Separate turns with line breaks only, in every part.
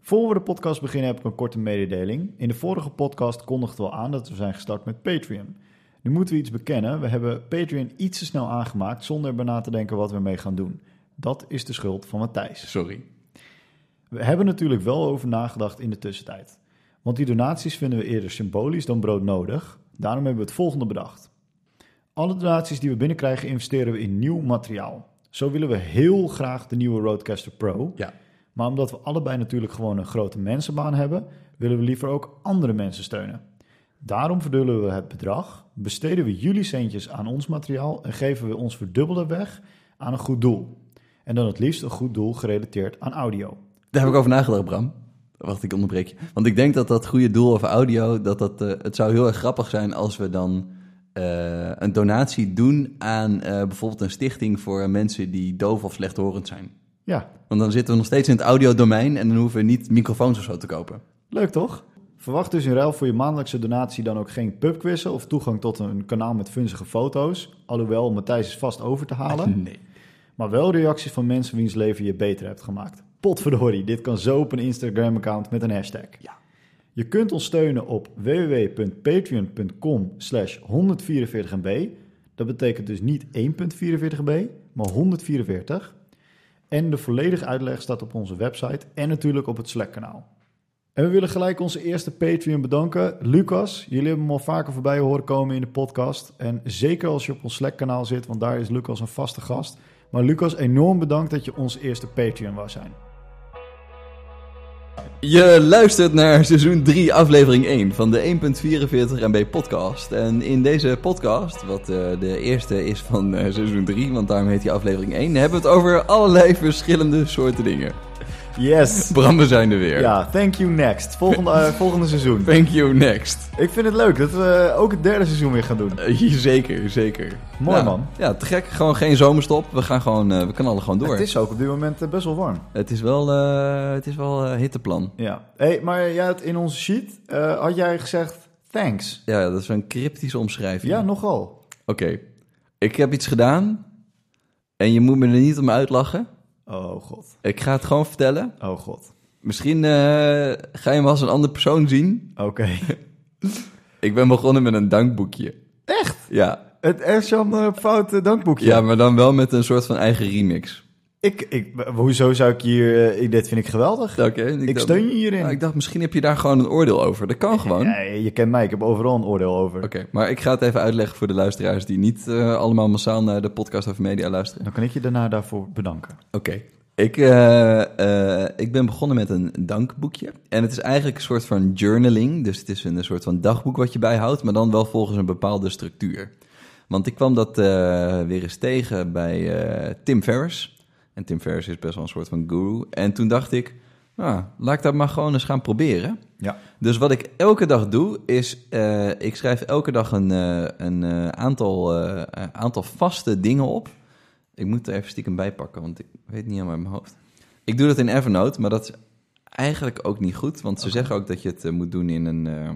Voor we de podcast beginnen heb ik een korte mededeling. In de vorige podcast kondigden we al aan dat we zijn gestart met Patreon. Nu moeten we iets bekennen. We hebben Patreon iets te snel aangemaakt zonder erbij na te denken wat we ermee gaan doen. Dat is de schuld van Matthijs.
Sorry.
We hebben natuurlijk wel over nagedacht in de tussentijd. Want die donaties vinden we eerder symbolisch dan broodnodig. Daarom hebben we het volgende bedacht. Alle donaties die we binnenkrijgen investeren we in nieuw materiaal. Zo willen we heel graag de nieuwe Roadcaster Pro.
Ja.
Maar omdat we allebei natuurlijk gewoon een grote mensenbaan hebben, willen we liever ook andere mensen steunen. Daarom verdullen we het bedrag, besteden we jullie centjes aan ons materiaal en geven we ons verdubbelde weg aan een goed doel. En dan het liefst een goed doel gerelateerd aan audio.
Daar heb ik over nagedacht, Bram. Wacht, ik onderbreek je. Want ik denk dat dat goede doel over audio, dat dat, eh, het zou heel erg grappig zijn als we dan eh, een donatie doen aan eh, bijvoorbeeld een stichting voor eh, mensen die doof of slechthorend zijn.
Ja,
Want dan zitten we nog steeds in het audiodomein en dan hoeven we niet microfoons of zo te kopen.
Leuk toch? Verwacht dus in ruil voor je maandelijkse donatie dan ook geen pubquizzen of toegang tot een kanaal met funzige foto's. Alhoewel, Matthijs is vast over te halen.
Nee.
Maar wel reacties van mensen wiens leven je beter hebt gemaakt. Potverdorie, dit kan zo op een Instagram-account met een hashtag.
Ja.
Je kunt ons steunen op www.patreon.com slash 144mb. Dat betekent dus niet 1.44mb, maar 144. En de volledige uitleg staat op onze website en natuurlijk op het Slack-kanaal. En we willen gelijk onze eerste Patreon bedanken. Lucas, jullie hebben hem al vaker voorbij horen komen in de podcast. En zeker als je op ons Slack-kanaal zit, want daar is Lucas een vaste gast. Maar Lucas, enorm bedankt dat je ons eerste Patreon wou zijn.
Je luistert naar seizoen 3, aflevering 1 van de 1.44 MB podcast. En in deze podcast, wat eh, de eerste is van eh, seizoen 3, want daarom heet die aflevering 1, hebben we het over allerlei verschillende soorten dingen.
Yes!
Bram, we zijn er weer.
Ja, thank you next. Volgende, eh, volgende seizoen.
Thank you, next.
Ik vind het leuk dat we ook het derde seizoen weer gaan doen.
Eh, zeker, zeker.
Mooi,
Nou,
man.
Ja, te gek. Gewoon geen zomerstop. We gaan gewoon, eh, we knallen gewoon door.
Het is ook op dit moment eh, best wel warm.
wel, eh, het is wel eh, hitteplan.
Ja. Hey, maar jij had in onze sheet eh, had jij gezegd thanks.
Ja, dat is een cryptische omschrijving.
Ja, nogal.
Oké. Ik heb iets gedaan en je moet me er niet om uitlachen.
Oh god.
Ik ga het gewoon vertellen.
Oh god.
Misschien eh, ga je me als een andere persoon zien.
Oké.
Ik ben begonnen met een dankboekje.
Echt?
Ja,
Het Ersham eh, fout eh, dankboekje.
ja maar dan wel met een soort van eigen remix.
Ik, ik, w- hoezo zou ik hier... eh, ik- dit vind ik geweldig.
Oké. ik
ik
dacht-
steun je hierin.
Ja, ik dacht, misschien heb je daar gewoon een oordeel over. Dat kan gewoon.
Ja, je kent mij, ik heb overal een oordeel over.
Oké, maar ik ga het even uitleggen voor de luisteraars die niet eh, allemaal massaal naar de podcast over media luisteren.
Dan kan ik je daarna daarvoor bedanken.
Oké. Ik, eh, eh, ik ben begonnen met een dankboekje. En het is eigenlijk een soort van journaling. Dus het is een soort van dagboek wat je bijhoudt, maar dan wel volgens een bepaalde structuur. Want ik kwam dat eh, weer eens tegen bij eh, Tim Ferriss. En Tim Ferriss is best wel een soort van guru. En toen dacht ik, nou, laat ik dat maar gewoon eens gaan proberen.
Ja.
Dus wat ik elke dag doe, is eh, ik schrijf elke dag een, eh, een eh, aantal, eh, een aantal vaste dingen op. Ik moet er even stiekem bij pakken, want ik weet niet helemaal uit mijn hoofd. Ik doe dat in Evernote, maar dat is eigenlijk ook niet goed. Want ze zeggen ook dat je het eh, moet doen in een eh,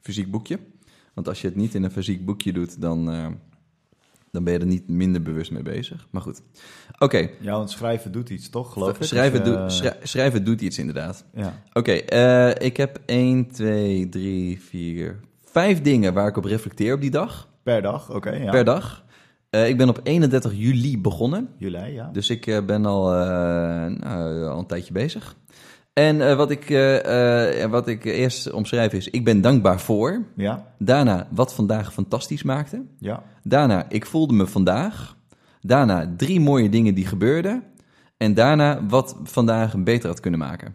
fysiek boekje. Want als je het niet in een fysiek boekje doet, dan, eh, dan ben je er niet minder bewust mee bezig. Maar goed, oké.
Ja, want schrijven doet iets, toch? Geloof ik.
Schrijven,
Dus,
doet-
eh,
schrij- schrijven doet iets inderdaad.
Ja.
Oké, eh, ik heb 1, 2, 3, 4, 5 dingen waar ik op reflecteer op die dag,
Per dag, oké. ja.
per dag. Eh, ik ben op 31 juli begonnen,
Juli, ja.
dus ik eh, ben al, eh, nou, al een tijdje bezig. En eh, wat, ik, eh, eh, wat ik eerst omschrijf is, ik ben dankbaar voor.
Ja,
Daarna, wat vandaag fantastisch maakte.
ja.
Daarna, ik voelde me vandaag. Daarna, drie mooie dingen die gebeurden. En daarna, wat vandaag beter had kunnen maken.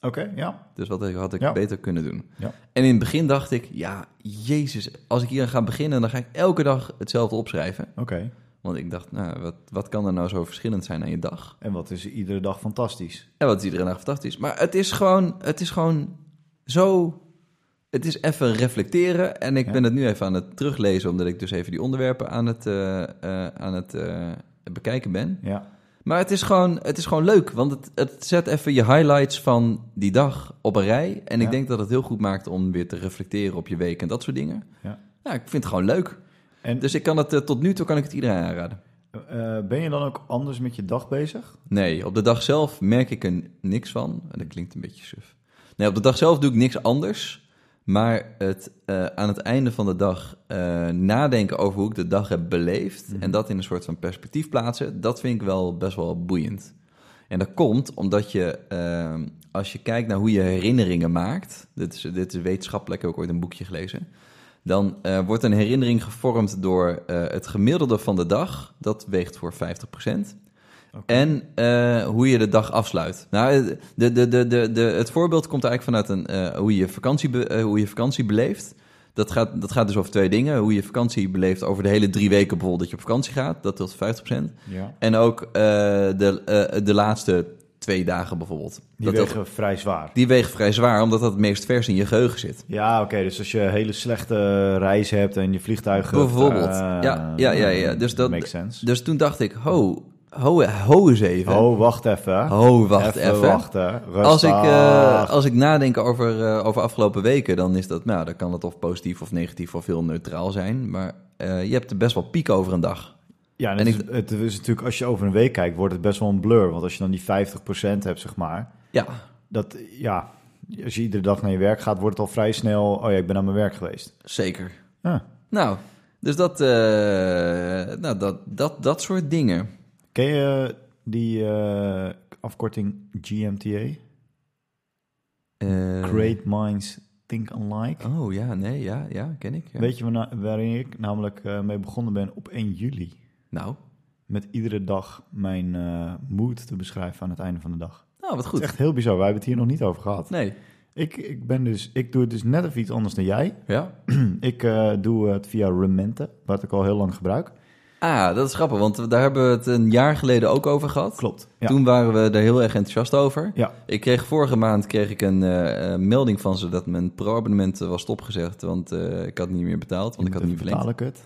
Oké, ja.
Dus wat had ik
Ja.
beter kunnen doen.
Ja.
En in het begin dacht ik, ja, jezus, als ik hier aan ga beginnen, dan ga ik elke dag hetzelfde opschrijven.
Oké.
Want ik dacht, nou, wat, wat kan er nou zo verschillend zijn aan je dag?
En wat is iedere dag fantastisch?
En wat is iedere dag fantastisch. Maar het is gewoon, het is gewoon zo, het is even reflecteren. En ik
Ja.
ben het nu even aan het teruglezen, omdat ik dus even die onderwerpen aan het, eh, eh, aan het eh, bekijken ben.
Ja.
Maar het is gewoon, het is gewoon leuk, want het, het zet even je highlights van die dag op een rij. En
Ja.
ik denk dat het heel goed maakt om weer te reflecteren op je week en dat soort dingen.
Ja.
ik vind het gewoon leuk.
En,
Dus ik kan het, eh, tot nu toe kan ik het iedereen aanraden.
Eh, eh, ben je dan ook anders met je dag bezig?
Nee, op de dag zelf merk ik er n- niks van. En dat klinkt een beetje suf. Nee, op de dag zelf doe ik niks anders. Maar het, eh, aan het einde van de dag eh, nadenken over hoe ik de dag heb beleefd... en dat in een soort van perspectief plaatsen... dat vind ik wel best wel boeiend. En dat komt omdat je, ehm, als je kijkt naar hoe je herinneringen maakt... dit is, dit is wetenschappelijk, heb ik ooit een boekje gelezen... dan eh, wordt een herinnering gevormd door eh, het gemiddelde van de dag. Dat weegt voor 50%. En eh, hoe je de dag afsluit. Nou, de, de, de, de, de, het voorbeeld komt eigenlijk vanuit een, eh, hoe, je vakantie be- eh, hoe je vakantie beleeft. Dat gaat, dat gaat dus over twee dingen. Hoe je vakantie beleeft over de hele drie weken bijvoorbeeld dat je op vakantie gaat. Dat telt 50%.
Ja.
En ook eh, de, eh, de laatste twee dagen bijvoorbeeld.
Die
dat
wegen
telt-
vrij zwaar.
die wegen vrij zwaar, omdat dat het meest vers in je geheugen zit.
Ja, oké. dus als je een hele slechte reis hebt en je vliegtuig...
Bijvoorbeeld.
eh,
Ja, ja, ja, ja. Dus dat-
Makes sense.
Dus toen dacht ik, ho, ho, ho eens even.
Oh, wacht even.
Ho, wacht even.
wachten. Rustig.
Als ik, eh, als ik nadenk over, eh, over afgelopen weken, dan is dat, nou, dan kan het of positief of negatief of heel neutraal zijn. Maar eh, je hebt er best wel piek over een dag.
Ja, en
en
het, is, het is natuurlijk, als je over een week kijkt, wordt het best wel een blur. Want als je dan die 50% hebt, zeg maar,
Ja,
dat, ja, als je iedere dag naar je werk gaat, wordt het al vrij snel, oh ja, ik ben aan mijn werk geweest.
zeker.
Ah.
Nou, dus dat, eh, nou, dat, dat, dat soort dingen.
Ken je die eh, afkorting GMTA?
Eh,
Great Minds Think Unlike.
Oh ja, nee, ja, ja, ken ik. ja.
Weet je waarna- waarin ik namelijk eh, mee begonnen ben op 1 juli?
Nou,
Met iedere dag mijn eh, mood te beschrijven aan het einde van de dag.
nou, wat
Het is
goed.
echt heel bizar, wij hebben het hier nog niet over gehad.
Nee,
Ik, ik, ben dus, ik doe het dus net even iets anders dan jij.
ja.
Ik eh, doe het via Rementa, wat ik al heel lang gebruik.
Ah, dat is grappig, want daar hebben we het een jaar geleden ook over gehad.
Klopt. Ja.
Toen waren we er heel erg enthousiast over.
Ja.
Ik kreeg vorige maand kreeg ik een eh, eh, melding van ze dat mijn pro-abonnement eh, was stopgezegd, want eh, ik had niet meer betaald, want ik had het niet verlengd.
Betalen kut.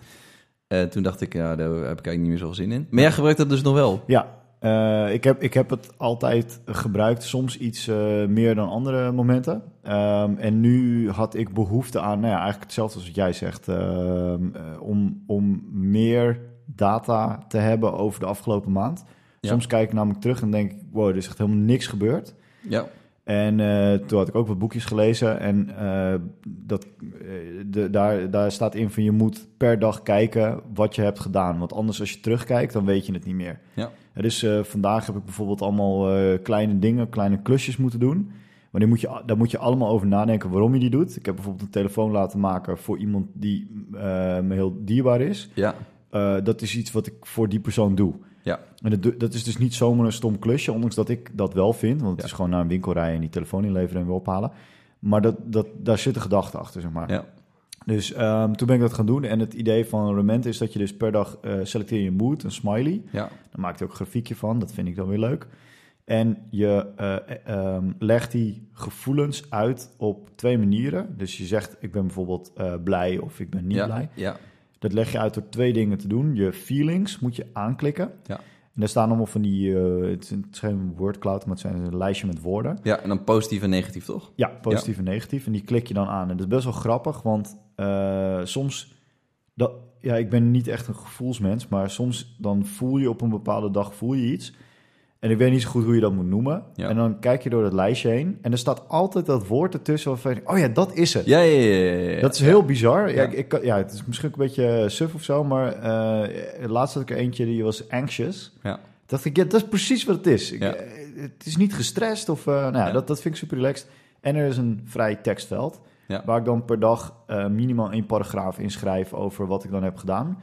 Eh, toen dacht ik, ja, daar heb ik eigenlijk niet meer zoveel zin in. Maar jij gebruikt dat dus nog wel.
Ja, eh, ik, heb, ik heb het altijd gebruikt, soms iets eh, meer dan andere momenten. Ehm, en nu had ik behoefte aan, nou ja, eigenlijk hetzelfde als wat jij zegt, ehm, eh, om, om meer data te hebben over de afgelopen maand.
Ja.
Soms kijk ik namelijk terug en denk ik, wow, er is echt helemaal niks gebeurd.
Ja.
En eh, toen had ik ook wat boekjes gelezen. En eh, dat, eh, de, daar, daar staat in van je moet per dag kijken wat je hebt gedaan. Want anders als je terugkijkt, dan weet je het niet meer.
Ja.
Eh, Dus eh, vandaag heb ik bijvoorbeeld allemaal eh, kleine dingen, kleine klusjes moeten doen. Maar die moet je, daar moet je allemaal over nadenken waarom je die doet. Ik heb bijvoorbeeld een telefoon laten maken voor iemand die eh, me heel dierbaar is.
Ja.
Eh, dat is iets wat ik voor die persoon doe.
Ja.
En dat, doe- dat is dus niet zomaar een stom klusje, ondanks dat ik dat wel vind. Want het
Ja.
is gewoon naar een winkel rijden en die telefoon inleveren en weer ophalen. Maar dat, dat, daar zit een gedachte achter, zeg maar.
Ja.
Dus ehm, toen ben ik dat gaan doen. En het idee van Rement is dat je dus per dag eh, selecteer je mood, een smiley.
Ja.
Daar maak je ook een grafiekje van, dat vind ik dan weer leuk. En je eh, eh, ehm, legt die gevoelens uit op twee manieren. Dus je zegt, ik ben bijvoorbeeld eh, blij of ik ben niet
ja.
blij.
Ja.
Dat leg je uit door twee dingen te doen. Je feelings moet je aanklikken.
Ja.
En daar staan allemaal van die, eh, het is een- het is geen wordcloud, maar het zijn een lijstje met woorden.
Ja, en dan positief en negatief, toch?
Ja, positief en negatief. En die klik je dan aan. En dat is best wel grappig, want eh, soms, dat, ja, ik ben niet echt een gevoelsmens, maar soms dan voel je op een bepaalde dag voel je iets. En ik weet niet zo goed hoe je dat moet noemen.
Ja.
En dan kijk je door dat lijstje heen. En er staat altijd dat woord ertussen waarvan je denkt, oh ja, dat is het.
Ja, ja, ja. ja, ja.
Dat is heel bizar. Ja,
Ja.
ik, ik kan- ja, het is misschien ook een beetje suf of zo, maar eh laatst had ik er eentje die was anxious.
Ja.
Dacht ik, ja, dat is precies wat het is. Ik,
Ja.
eh, Het is niet gestrest of... eh, nou ja,
Ja.
Dat, dat vind ik super relaxed. En er is een vrij tekstveld...
Ja.
waar ik dan per dag eh, minimaal één paragraaf inschrijf... over wat ik dan heb gedaan.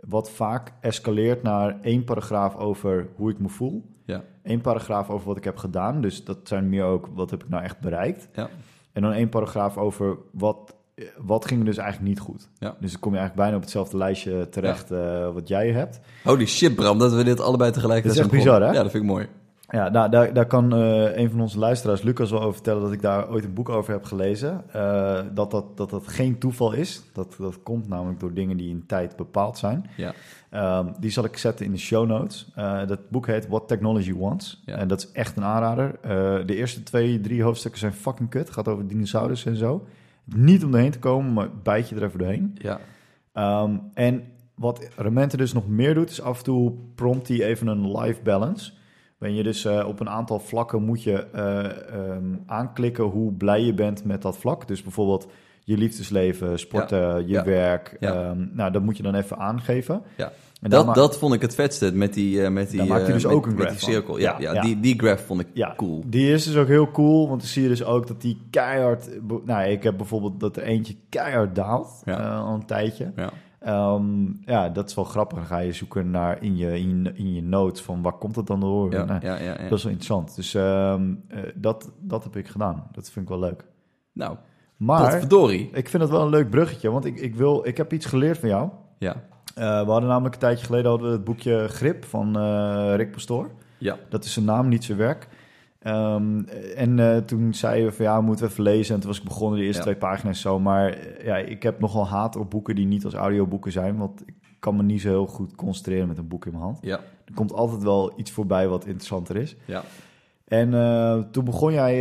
Wat vaak escaleert naar één paragraaf over hoe ik me voel.
Ja.
Eén paragraaf over wat ik heb gedaan. Dus dat zijn meer ook wat heb ik nou echt bereikt.
Ja.
En dan één paragraaf over wat, eh, wat ging er dus eigenlijk niet goed.
Ja.
Dus dan kom je eigenlijk bijna op hetzelfde lijstje terecht eh, wat jij hebt.
Holy shit, Bram, dat we dit allebei tegelijkertijd
Dat is echt
zijn begonnen.
bizar, hè?
Ja, dat vind ik mooi.
Ja, nou, daar, daar kan eh, een van onze luisteraars, Lucas, wel over vertellen dat ik daar ooit een boek over heb gelezen. Eh, dat, dat, dat dat geen toeval is. Dat, dat komt namelijk door dingen die in tijd bepaald zijn.
Ja.
Ehm, die zal ik zetten in de show notes. Eh, dat boek heet What Technology Wants.
Ja.
En dat is echt een aanrader. Eh, de eerste twee, drie hoofdstukken zijn fucking kut. gaat over dinosaurus en zo. Niet om erheen te komen, maar bijt je er even doorheen.
Ja.
Ehm, en wat Remente dus nog meer doet, is af en toe prompt hij even een life balance. Waarin je dus eh, op een aantal vlakken moet je eh, ehm, aanklikken hoe blij je bent met dat vlak. Dus bijvoorbeeld je liefdesleven, sporten, je
ja,
werk.
ja.
ehm, nou, dat moet je dan even aangeven.
Ja.
En dan
dat,
ma-
dat vond ik het vetste, met die... eh, met die
Daar maakt hij
eh,
dus
met-
ook een
met
graph
die cirkel,
van.
ja,
Ja,
ja,
ja.
Die, die graph vond ik
Ja,
cool.
die is dus ook heel cool, want dan zie je dus ook dat die keihard... be- Nou, ik heb bijvoorbeeld dat er eentje keihard daalt
Ja.
eh, al een tijdje.
Ja.
Ehm, ja, dat is wel grappig. Dan ga je zoeken naar in je, in, in je notes van waar komt dat dan door?
Ja,
Nou,
ja, ja, ja.
Dat is wel interessant. Dus ehm, eh, dat, dat heb ik gedaan. Dat vind ik wel leuk.
Nou,
Maar
potverdorie.
ik vind het wel een leuk bruggetje, want ik, ik, wil, ik heb iets geleerd van jou.
Ja,
Eh, we hadden namelijk een tijdje geleden hadden we het boekje Grip van eh, Rick Pastoor.
ja.
Dat is zijn naam, niet zijn werk. Ehm, en eh, toen zeiden we van ja, moeten we even lezen. En toen was ik begonnen de eerste
Ja.
twee pagina's zo. Maar eh, ja, ik heb nogal haat op boeken die niet als audioboeken zijn. Want ik kan me niet zo heel goed concentreren met een boek in mijn hand.
Ja,
Er komt altijd wel iets voorbij wat interessanter is.
ja.
En eh, toen begon jij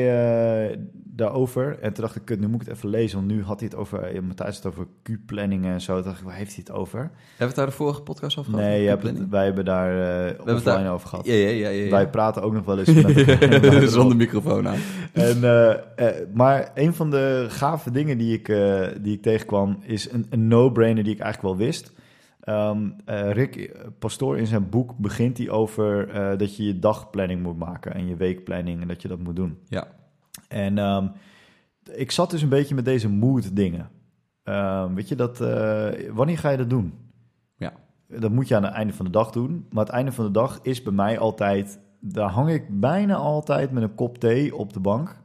eh, daarover. En toen dacht ik, kut, nu moet ik het even lezen. Want nu had hij het over, ja, Matthijs had het over Q-planningen en zo. Toen dacht ik, waar heeft hij het over?
Hebben we het daar de vorige podcast over gehad?
nee, je hebt het-
Planning?
wij hebben daar eh
het
offline
daar-
over gehad.
Ja, ja, ja. ja, ja.
Wij praten ook nog wel eens met
Zonder microfoon aan.
En, eh, eh, maar een van de gave dingen die ik, eh, die ik tegenkwam, is een, een no-brainer die ik eigenlijk wel wist. Ehm, eh, Rick Pastoor in zijn boek begint hij over eh, dat je je dagplanning moet maken en je weekplanning en dat je dat moet doen.
Ja.
En ehm, ik zat dus een beetje met deze mood dingen. Ehm, weet je, dat, eh, wanneer ga je dat doen?
Ja.
Dat moet je aan het einde van de dag doen. Maar het einde van de dag is bij mij altijd... Daar hang ik bijna altijd met een kop thee op de bank...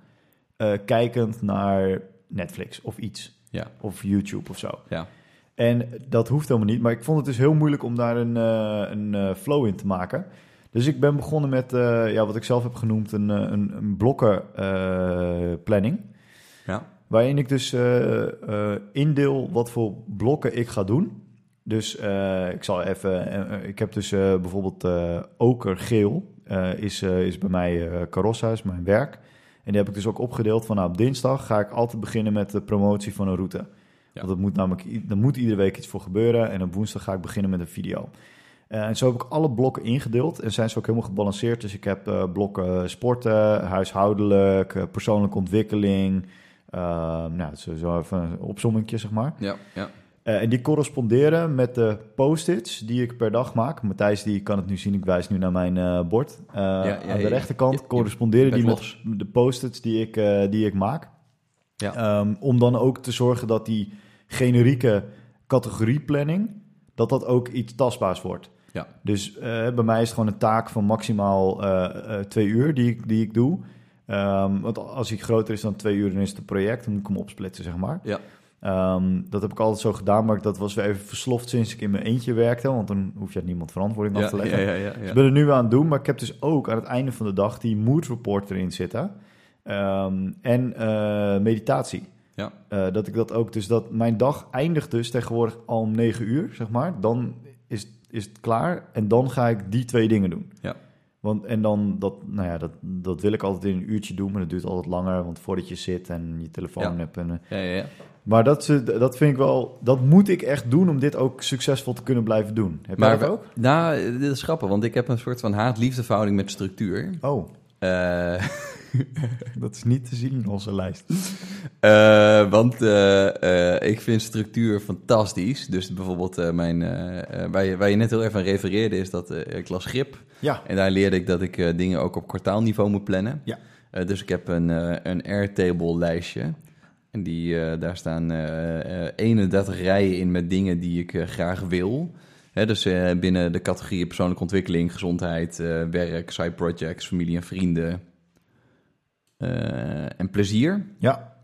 eh, kijkend naar Netflix of iets.
Ja.
Of YouTube of zo.
Ja.
En dat hoeft helemaal niet. Maar ik vond het dus heel moeilijk om daar een, eh, een eh, flow in te maken. Dus ik ben begonnen met eh, ja, wat ik zelf heb genoemd een, eh, een, een blokkenplanning. planning
Ja.
waarin ik dus eh, eh, indeel wat voor blokken ik ga doen. Dus eh, ik zal even. eh, eh, ik heb dus eh, bijvoorbeeld eh okergeel. eh, is, eh, is bij mij eh Carossa, is mijn werk. En die heb ik dus ook opgedeeld van nou, op dinsdag ga ik altijd beginnen met de promotie van een route. Want dat moet namelijk, i- er moet iedere week iets voor gebeuren. En op woensdag ga ik beginnen met een video. Eh, en zo heb ik alle blokken ingedeeld en zijn ze ook helemaal gebalanceerd. Dus ik heb eh, blokken sporten, huishoudelijk, eh, persoonlijke ontwikkeling. eh, nou, zo, zo even een opzommingje, zeg maar.
Ja. Ja.
Eh, en die corresponderen met de post-its die ik per dag maak. Matthijs, die kan het nu zien. Ik wijs nu naar mijn eh, bord. Eh,
ja,
aan de
ja.
rechterkant
Je- je
corresponderen
bent
die met de post-its die ik, eh, die ik maak.
Ja.
Ehm, om dan ook te zorgen dat die generieke categorieplanning... dat dat ook iets tastbaars wordt.
Ja.
Dus eh, bij mij is het gewoon een taak van maximaal eh, eh, twee uur die ik, die ik doe. Ehm, want als hij groter is dan twee uur, dan is het een project. Dan moet ik hem opsplitsen, zeg maar.
Ja.
Ehm, dat heb ik altijd zo gedaan, maar dat was weer even versloft sinds ik in mijn eentje werkte. Want dan hoef je aan niemand verantwoording af
Ja,
te
ja,
leggen.
ja, ja,
Dus
ja.
ik ben er nu aan het doen, maar ik heb dus ook aan het einde van de dag die mood report erin zitten. Ehm, en eh, meditatie.
Ja.
Eh, dat ik dat ook, dus dat mijn dag eindigt dus tegenwoordig al om negen uur, zeg maar. Dan is, is het klaar en dan ga ik die twee dingen doen.
Ja.
Want, en dan, dat, nou ja, dat, dat wil ik altijd in een uurtje doen, maar dat duurt altijd langer. Want voordat je zit en je telefoon
Ja.
hebt en eh,
Ja, ja, ja.
maar dat, ze- dat vind ik wel, dat moet ik echt doen om dit ook succesvol te kunnen blijven doen. Heb jij
Maar
dat ook?
Nou, dit is grappig, want ik heb een soort van haat-liefdeverhouding met structuur.
Oh,
Eh,
dat is niet te zien in onze lijst.
Eh, want eh, eh, ik vind structuur fantastisch. Dus bijvoorbeeld eh, mijn, eh, eh, waar, je, waar je net heel even aan refereerde, is dat eh, ik las grip.
Ja,
En daar leerde ik dat ik eh, dingen ook op kwartaalniveau moet plannen.
Ja.
Eh, dus ik heb een, eh een Airtable lijstje. En die, eh, daar staan eh, eh, 31 rijen in met dingen die ik eh, graag wil. Hè, dus eh, binnen de categorieën persoonlijke ontwikkeling, gezondheid, eh, werk, side projects, familie en vrienden. Eh, en plezier.
ja,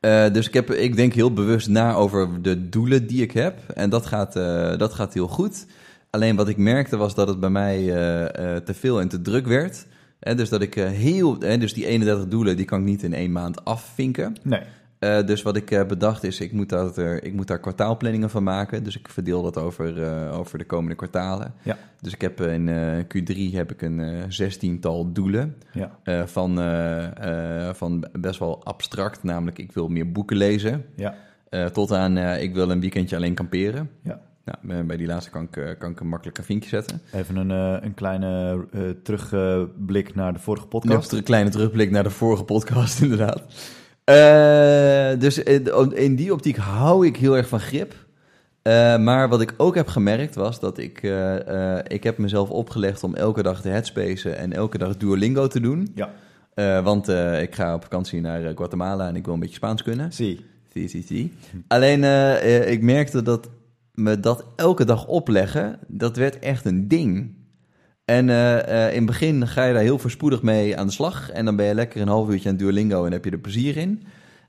Eh, dus ik, heb, ik denk heel bewust na over de doelen die ik heb. En dat gaat, eh, dat gaat heel goed. Alleen wat ik merkte was dat het bij mij eh, eh, te veel en te druk werd. Hè, dus dat ik eh, heel. hè, dus die 31 doelen die kan ik niet in één maand afvinken.
nee,
Eh, dus wat ik eh, bedacht is, ik moet, dat er, ik moet daar kwartaalplanningen van maken. Dus ik verdeel dat over, eh, over de komende kwartalen.
Ja.
Dus ik heb in eh, Q3 heb ik een eh zestiental doelen.
ja,
Eh, van, eh, eh, van best wel abstract, namelijk ik wil meer boeken lezen.
ja,
eh, tot aan eh, ik wil een weekendje alleen kamperen.
ja.
Nou, bij- bij die laatste kan ik, eh, kan ik een makkelijke vinkje zetten.
Even een, eh, een kleine eh, terugblik naar de vorige podcast.
Een kleine terugblik naar de vorige podcast, inderdaad. Eh, dus in- in die optiek hou ik heel erg van grip. Eh, maar wat ik ook heb gemerkt was dat ik, eh, eh, ik heb mezelf opgelegd om elke dag te headspacen en elke dag Duolingo te doen.
Ja.
Eh, want eh, ik ga op vakantie naar eh, Guatemala en ik wil een beetje Spaans kunnen.
Zie.
Zie, zie, zie. Alleen eh, eh, ik merkte dat me dat elke dag opleggen, dat werd echt een ding. En eh, eh, in het begin ga je daar heel voorspoedig mee aan de slag. En dan ben je lekker een half uurtje aan Duolingo en heb je er plezier in.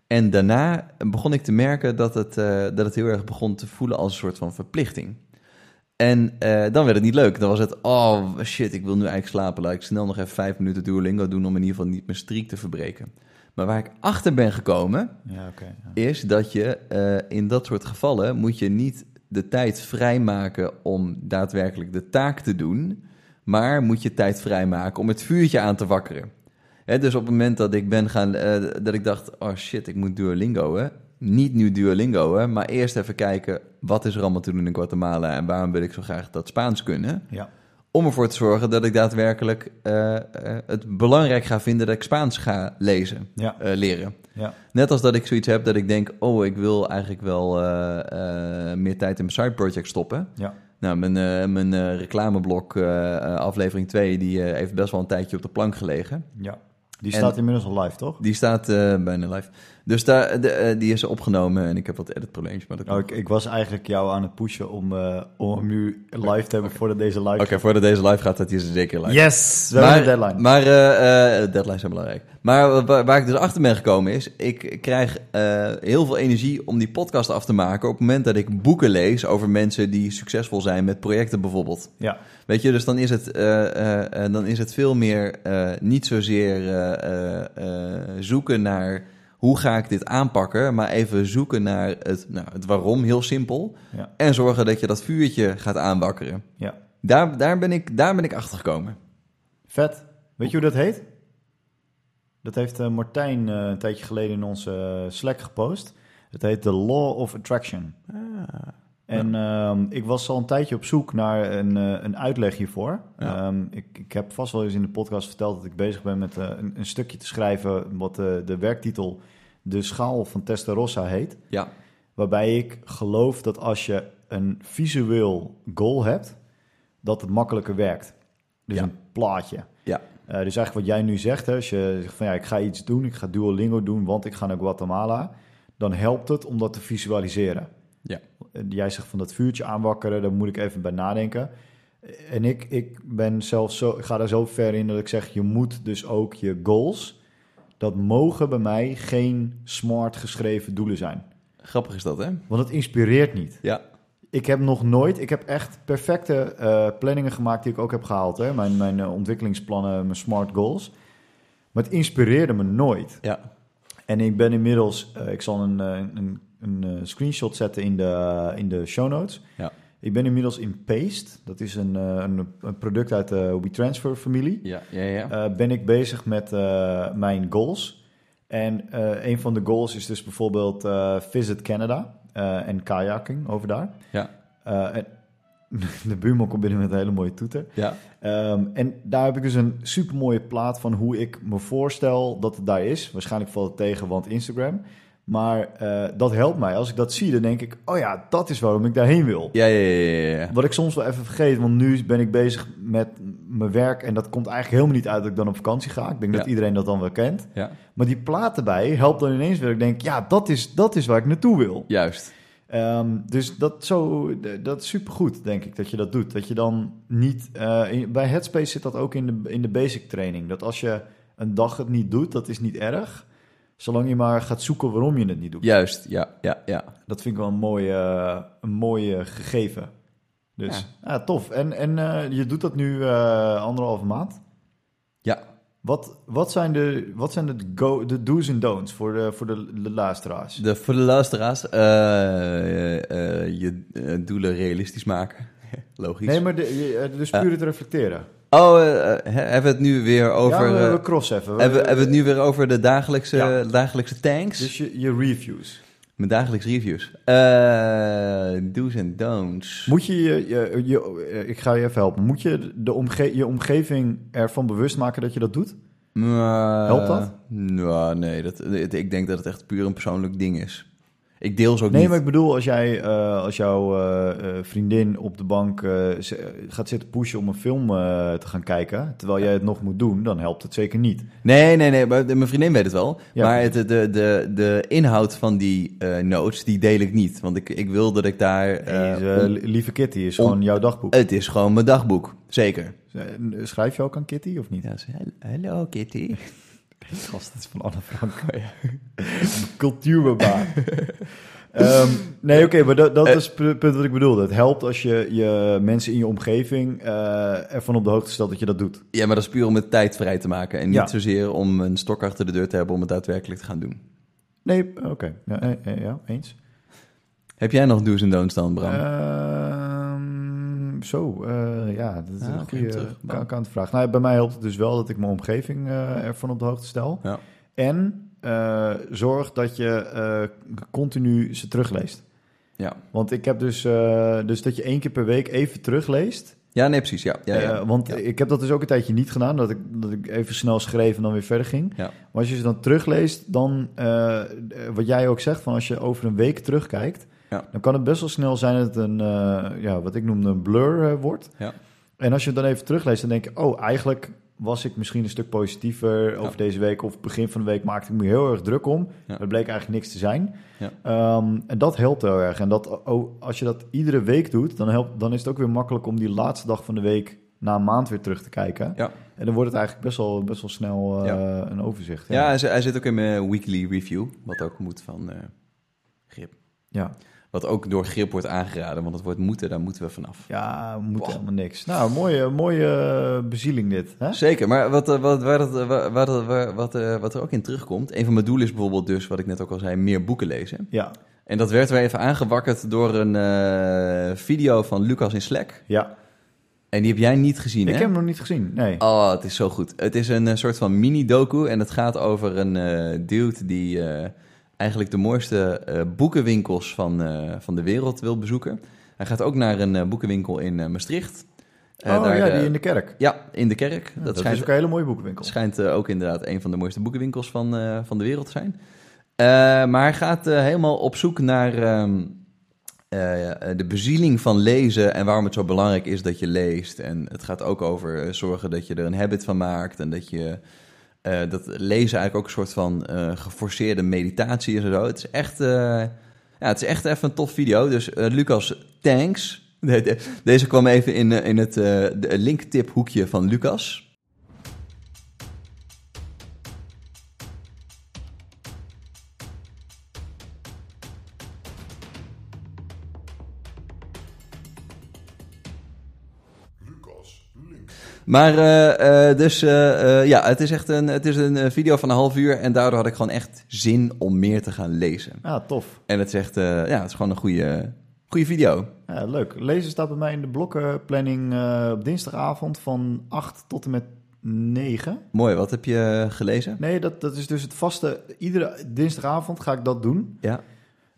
En daarna begon ik te merken dat het, eh, dat het heel erg begon te voelen als een soort van verplichting. En eh, dan werd het niet leuk. Dan was het, oh shit, ik wil nu eigenlijk slapen. Laat ik snel nog even vijf minuten Duolingo doen om in ieder geval niet mijn streak te verbreken. Maar waar ik achter ben gekomen,
Ja, oké. ja.
is dat je eh, in dat soort gevallen moet je niet de tijd vrijmaken om daadwerkelijk de taak te doen, maar moet je tijd vrijmaken om het vuurtje aan te wakkeren. Hè, dus op het moment dat ik ben gaan, eh, dat ik dacht, oh shit, ik moet Duolingo, hè? niet nu Duolingo, hè? maar eerst even kijken wat is er allemaal te doen in Guatemala en waarom wil ik zo graag dat Spaans kunnen,
Ja.
om ervoor te zorgen dat ik daadwerkelijk eh, eh, het belangrijk ga vinden dat ik Spaans ga lezen,
Ja.
eh, leren.
Ja.
Net als dat ik zoiets heb dat ik denk, oh, ik wil eigenlijk wel eh, eh, meer tijd in mijn side project stoppen.
Ja.
Nou, mijn, eh, mijn eh, reclameblok, eh, eh, aflevering 2, die eh, heeft best wel een tijdje op de plank gelegen.
ja. Die
En-
staat inmiddels al live, toch?
Die staat eh, bijna live. Dus daar, de, eh, die is opgenomen en ik heb wat editprobleempjes. Maar dat
Nou, ik, ik was eigenlijk jou aan het pushen om, eh, om hem nu live te hebben voordat deze live
Oké, voordat deze live gaat, dat hij ze zeker live.
Yes, we hebben een deadline.
Maar eh, eh, deadlines zijn belangrijk. Maar waar, waar ik dus achter ben gekomen is, ik krijg eh, heel veel energie om die podcast af te maken op het moment dat ik boeken lees over mensen die succesvol zijn met projecten bijvoorbeeld.
Ja,
Weet je, dus dan is het, eh, eh, eh, dan is het veel meer eh, niet zozeer eh, eh, eh, zoeken naar hoe ga ik dit aanpakken, maar even zoeken naar het, nou, het waarom, heel simpel.
Ja.
En zorgen dat je dat vuurtje gaat aanwakkeren.
ja.
Daar, daar, ben ik, daar ben ik achter gekomen.
Vet. Weet je hoe dat heet? Dat heeft eh, Martijn eh, een tijdje geleden in onze eh, Slack gepost. Het heet The Law of Attraction. En ehm, ik was al een tijdje op zoek naar een, eh, een uitleg hiervoor.
Ja.
Ehm, ik, ik heb vast wel eens in de podcast verteld dat ik bezig ben met eh, een, een stukje te schrijven... wat eh, de werktitel De Schaal van Testarossa heet.
Ja.
Waarbij ik geloof dat als je een visueel goal hebt, dat het makkelijker werkt. Dus
Ja.
een plaatje.
Ja.
Eh, dus eigenlijk wat jij nu zegt, hè, als je zegt van ja, ik ga iets doen, ik ga Duolingo doen, want ik ga naar Guatemala, dan helpt het om dat te visualiseren.
Ja.
Eh, Jij zegt van dat vuurtje aanwakkeren, daar moet ik even bij nadenken. Eh, En ik, ik ben zelf zo, ik ga daar zo ver in dat ik zeg, je moet dus ook je goals, dat mogen bij mij geen smart geschreven doelen zijn.
Grappig is dat, hè?
Want het inspireert niet.
Ja.
Ik heb nog nooit, ik heb echt perfecte eh, planningen gemaakt die ik ook heb gehaald. Hè? Mijn, mijn eh, ontwikkelingsplannen, mijn smart goals. Maar het inspireerde me nooit.
Ja.
En ik ben inmiddels, eh, ik zal een, eh, een, een eh, screenshot zetten in de, eh, in de show notes.
Ja.
Ik ben inmiddels in Paste, dat is een, eh, een, een product uit de WeTransfer familie.
Ja, ja, ja.
Eh, ben ik bezig met eh, mijn goals. En eh, een van de goals is dus bijvoorbeeld eh, Visit Canada eh, en kajaking over daar.
Ja.
Eh, en- de buurman komt binnen met een hele mooie toeter.
ja.
Ehm, en daar heb ik dus een super mooie plaat van hoe ik me voorstel dat het daar is. Waarschijnlijk valt het tegen, want Instagram. Maar eh, dat helpt mij. Als ik dat zie, dan denk ik: oh ja, dat is waarom ik daarheen wil.
Ja, ja, ja, ja, ja.
Wat ik soms wel even vergeet, want nu ben ik bezig met mijn werk. En dat komt eigenlijk helemaal niet uit dat ik dan op vakantie ga. Ik denk dat
Ja.
iedereen dat dan wel kent.
Ja.
Maar die plaat erbij helpt dan ineens weer. Ik denk, ja, dat is, dat is waar ik naartoe wil.
Juist.
Ehm, dus dat, zo, d- dat is supergoed, denk ik, dat je dat doet. Dat je dan niet... eh, in- bij Headspace zit dat ook in de, in de basic training. Dat als je een dag het niet doet, dat is niet erg. Zolang je maar gaat zoeken waarom je het niet doet.
Juist. Ja, ja, ja.
Dat vind ik wel een mooie, een mooie gegeven. Dus ja. tof. En, en eh, je doet dat nu eh, anderhalve maand.
Ja.
Wat, wat zijn, de, wat zijn de, go, de do's en don'ts voor de, voor de, de luisteraars?
De, voor de luisteraars, eh, eh, eh, je eh, doelen realistisch maken. Logisch.
Nee, maar de, je- eh, dus puur het reflecteren.
Oh, eh, eh, he- hebben we het nu weer over...
ja, we, we
eh,
cross even. We-
hebben, hebben we het nu weer over de dagelijkse,
Ja.
dagelijkse tanks?
Dus je, je dus reviews.
Mijn dagelijks reviews. Eh, do's en don'ts.
Moet je je, je, je- eh, ik ga je even helpen. Moet je de omge je omgeving ervan bewust maken dat je dat doet?
Eh,
Helpt dat?
Nou, nee. Dat, het- ik denk dat het echt puur een persoonlijk ding is. Ik deel ze ook
Nee,
niet.
maar ik bedoel, als jij eh, als jouw eh, eh, vriendin op de bank eh, ze- gaat zitten pushen om een film eh, te gaan kijken, terwijl jij het nog moet doen, dan helpt het zeker niet.
Nee, nee, nee. Maar de- mijn vriendin weet het wel.
Ja.
Maar het, de, de, de inhoud van die eh, notes, die deel ik niet. Want ik, ik wil dat ik daar... eh,
Deze,
om-
li- lieve Kitty is
om-
gewoon jouw dagboek.
het is gewoon mijn dagboek. Zeker.
Eh, Schrijf je ook aan Kitty of niet?
Ja, ze- Hallo, Kitty.
Gast, het is van Anne Frank. Cultuurbarbaar. Ehm, nee, oké, maar dat, dat
Eh.
is het punt wat ik bedoelde. Het helpt als je, je mensen in je omgeving eh, ervan op de hoogte stelt dat je dat doet.
Ja, maar dat is puur om het tijd vrij te maken. En niet
Ja.
zozeer om een stok achter de deur te hebben om het daadwerkelijk te gaan doen.
Nee, oké. Ja, eh, eh, ja, eens.
Heb jij nog do's en don'ts dan, Bram?
Eh, Ehm, zo, eh, ja, dat is
Ah,
een
oké,
goede
terug.
ka- kantvraag. Nou, bij mij helpt het dus wel dat ik mijn omgeving eh, ervan op de hoogte stel.
Ja.
En eh, zorg dat je eh, continu ze terugleest.
ja.
Want ik heb dus, eh, dus dat je één keer per week even terugleest.
Ja, nee, precies. Ja, ja, ja.
Eh, want
Ja.
ik heb dat dus ook een tijdje niet gedaan, dat ik, dat ik even snel schreef en dan weer verder ging.
Ja.
Maar als je ze dan terugleest, dan eh, wat jij ook zegt, van als je over een week terugkijkt,
Ja.
dan kan het best wel snel zijn dat het een, eh, ja, wat ik noemde een blur eh, wordt.
Ja.
En als je het dan even terugleest, dan denk je, oh, eigenlijk was ik misschien een stuk positiever over
Ja.
deze week of begin van de week maakte ik me heel erg druk om.
Ja.
Dat bleek eigenlijk niks te zijn.
Ja.
Ehm, en dat helpt heel erg. En dat, oh, als je dat iedere week doet, dan, helpt, dan is het ook weer makkelijk om die laatste dag van de week na een maand weer terug te kijken.
Ja.
En dan wordt het eigenlijk best wel, best wel snel eh, een overzicht.
Ja, hij, zit- hij zit ook in mijn weekly review. Wat ook moet van eh grip.
ja.
Wat ook door grip wordt aangeraden. Want het woord moeten, daar moeten we vanaf.
Ja, we moeten
Wow.
helemaal niks. Nou, mooie, mooie eh, bezieling dit. Hè?
Zeker, maar wat, eh, wat, waar dat, eh, waar, waar dat- waar- wat, eh, wat er ook in terugkomt... Een van mijn doelen is bijvoorbeeld dus, wat ik net ook al zei... meer boeken lezen.
Ja,
En dat werd weer even aangewakkerd door een eh, video van Lucas in Slack.
ja.
En die heb jij niet gezien,
ik
hè?
heb hem nog niet gezien. Nee.
Oh, het is zo goed. Het is een eh, soort van mini-doku en het gaat over een eh, dude die eh, eigenlijk de mooiste eh, boekenwinkels van, eh, van de wereld wil bezoeken. Hij gaat ook naar een eh, boekenwinkel in eh, Maastricht. Eh,
oh
daar,
ja,
eh,
die in de kerk.
ja, in de kerk.
Ja,
dat
dat
schijnt,
is ook een hele mooie boekenwinkel.
schijnt eh, ook inderdaad een van de mooiste boekenwinkels van, eh, van de wereld te zijn. Eh, maar hij gaat eh, helemaal op zoek naar ehm, eh, de bezieling van lezen en waarom het zo belangrijk is dat je leest. En het gaat ook over eh, zorgen dat je er een habit van maakt en dat je eh, dat lezen eigenlijk ook een soort van eh, geforceerde meditatie is en zo. Het is echt, eh, ja, het is echt even een tof video. Dus eh, Lucas, thanks. De- de- Deze kwam even in, eh, in het eh, de linktip hoekje van Lucas. Maar eh, eh, dus eh, eh, ja, het is echt een, het is een eh, video van een half uur en daardoor had ik gewoon echt zin om meer te gaan lezen.
Ah, tof.
En het is echt, eh, ja, het is gewoon een goede, goede video.
Ja, Eh, leuk. Lezen staat bij mij in de blokkenplanning eh, op dinsdagavond van 8 tot en met 9.
Mooi, wat heb je gelezen?
Nee, dat, dat is dus het vaste. Iedere dinsdagavond ga ik dat doen.
Ja,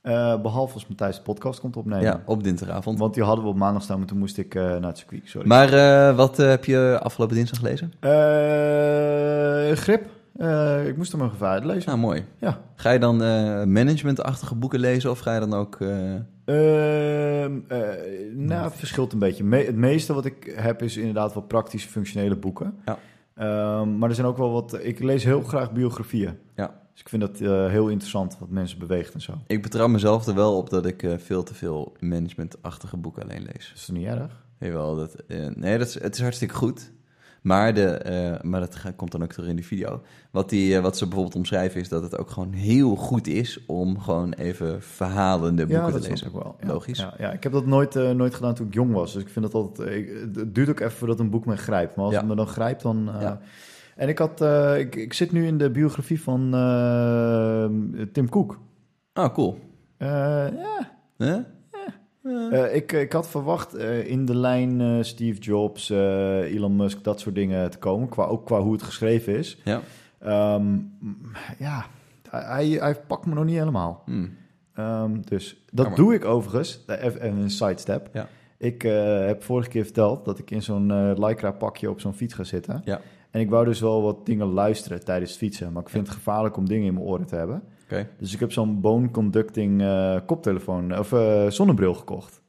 Eh, behalve als Matthijs de podcast komt opnemen.
ja op dinsdagavond.
Want die hadden we op maandag staan, maar toen moest ik eh, naar het circuit. Sorry.
Maar eh, wat eh, heb je afgelopen dinsdag gelezen?
Eh, grip. Eh, ik moest hem even uitlezen.
Nou, mooi.
Ja.
Ga je dan eh managementachtige boeken lezen of ga je dan ook... eh,
Ehm, eh, nou, het verschilt een beetje. Me- het meeste wat ik heb is inderdaad wel praktische, functionele boeken.
Ja.
Ehm, maar er zijn ook wel wat... Ik lees heel graag biografieën.
Ja.
Dus ik vind dat eh, heel interessant, wat mensen beweegt en zo.
Ik betrouw mezelf er wel op dat ik eh, veel te veel managementachtige boeken alleen lees.
Dat is toch niet erg?
Jawel, dat, eh, nee, dat is, het is hartstikke goed. Maar, de, eh, maar dat ga- komt dan ook terug in die video. Wat, die, eh, wat ze bijvoorbeeld omschrijven is dat het ook gewoon heel goed is om gewoon even verhalende boeken
dat
te
snap
lezen.
ik wel.
Logisch.
Ja, ja, ik heb dat nooit, eh, nooit gedaan toen ik jong was. Dus ik vind dat altijd... ik- het duurt ook even voordat een boek me grijpt. Maar als
Ja.
het me dan grijpt, dan... eh,
Ja.
En ik, had, eh, ik, ik zit nu in de biografie van eh, Tim Cook.
Ah, cool.
Eh,
Hè?
Eh, ik, ik had verwacht eh, in de lijn eh, Steve Jobs, eh, Elon Musk, dat soort dingen te komen. Qua, ook qua hoe het geschreven is.
Ja.
Ehm, mm, ja, hij, hij pakt me nog niet helemaal.
Hm.
Ehm, dus dat
Ja, maar-
doe ik overigens. Eh, Even een sidestep.
Ja.
Ik eh, heb vorige keer verteld dat ik in zo'n eh, lycra pakje op zo'n fiets ga zitten.
Ja.
En ik wou dus wel wat dingen luisteren tijdens het fietsen. Maar ik vind het gevaarlijk om dingen in mijn oren te hebben.
Oké.
Dus ik heb zo'n bone conducting eh, koptelefoon of eh, zonnebril gekocht.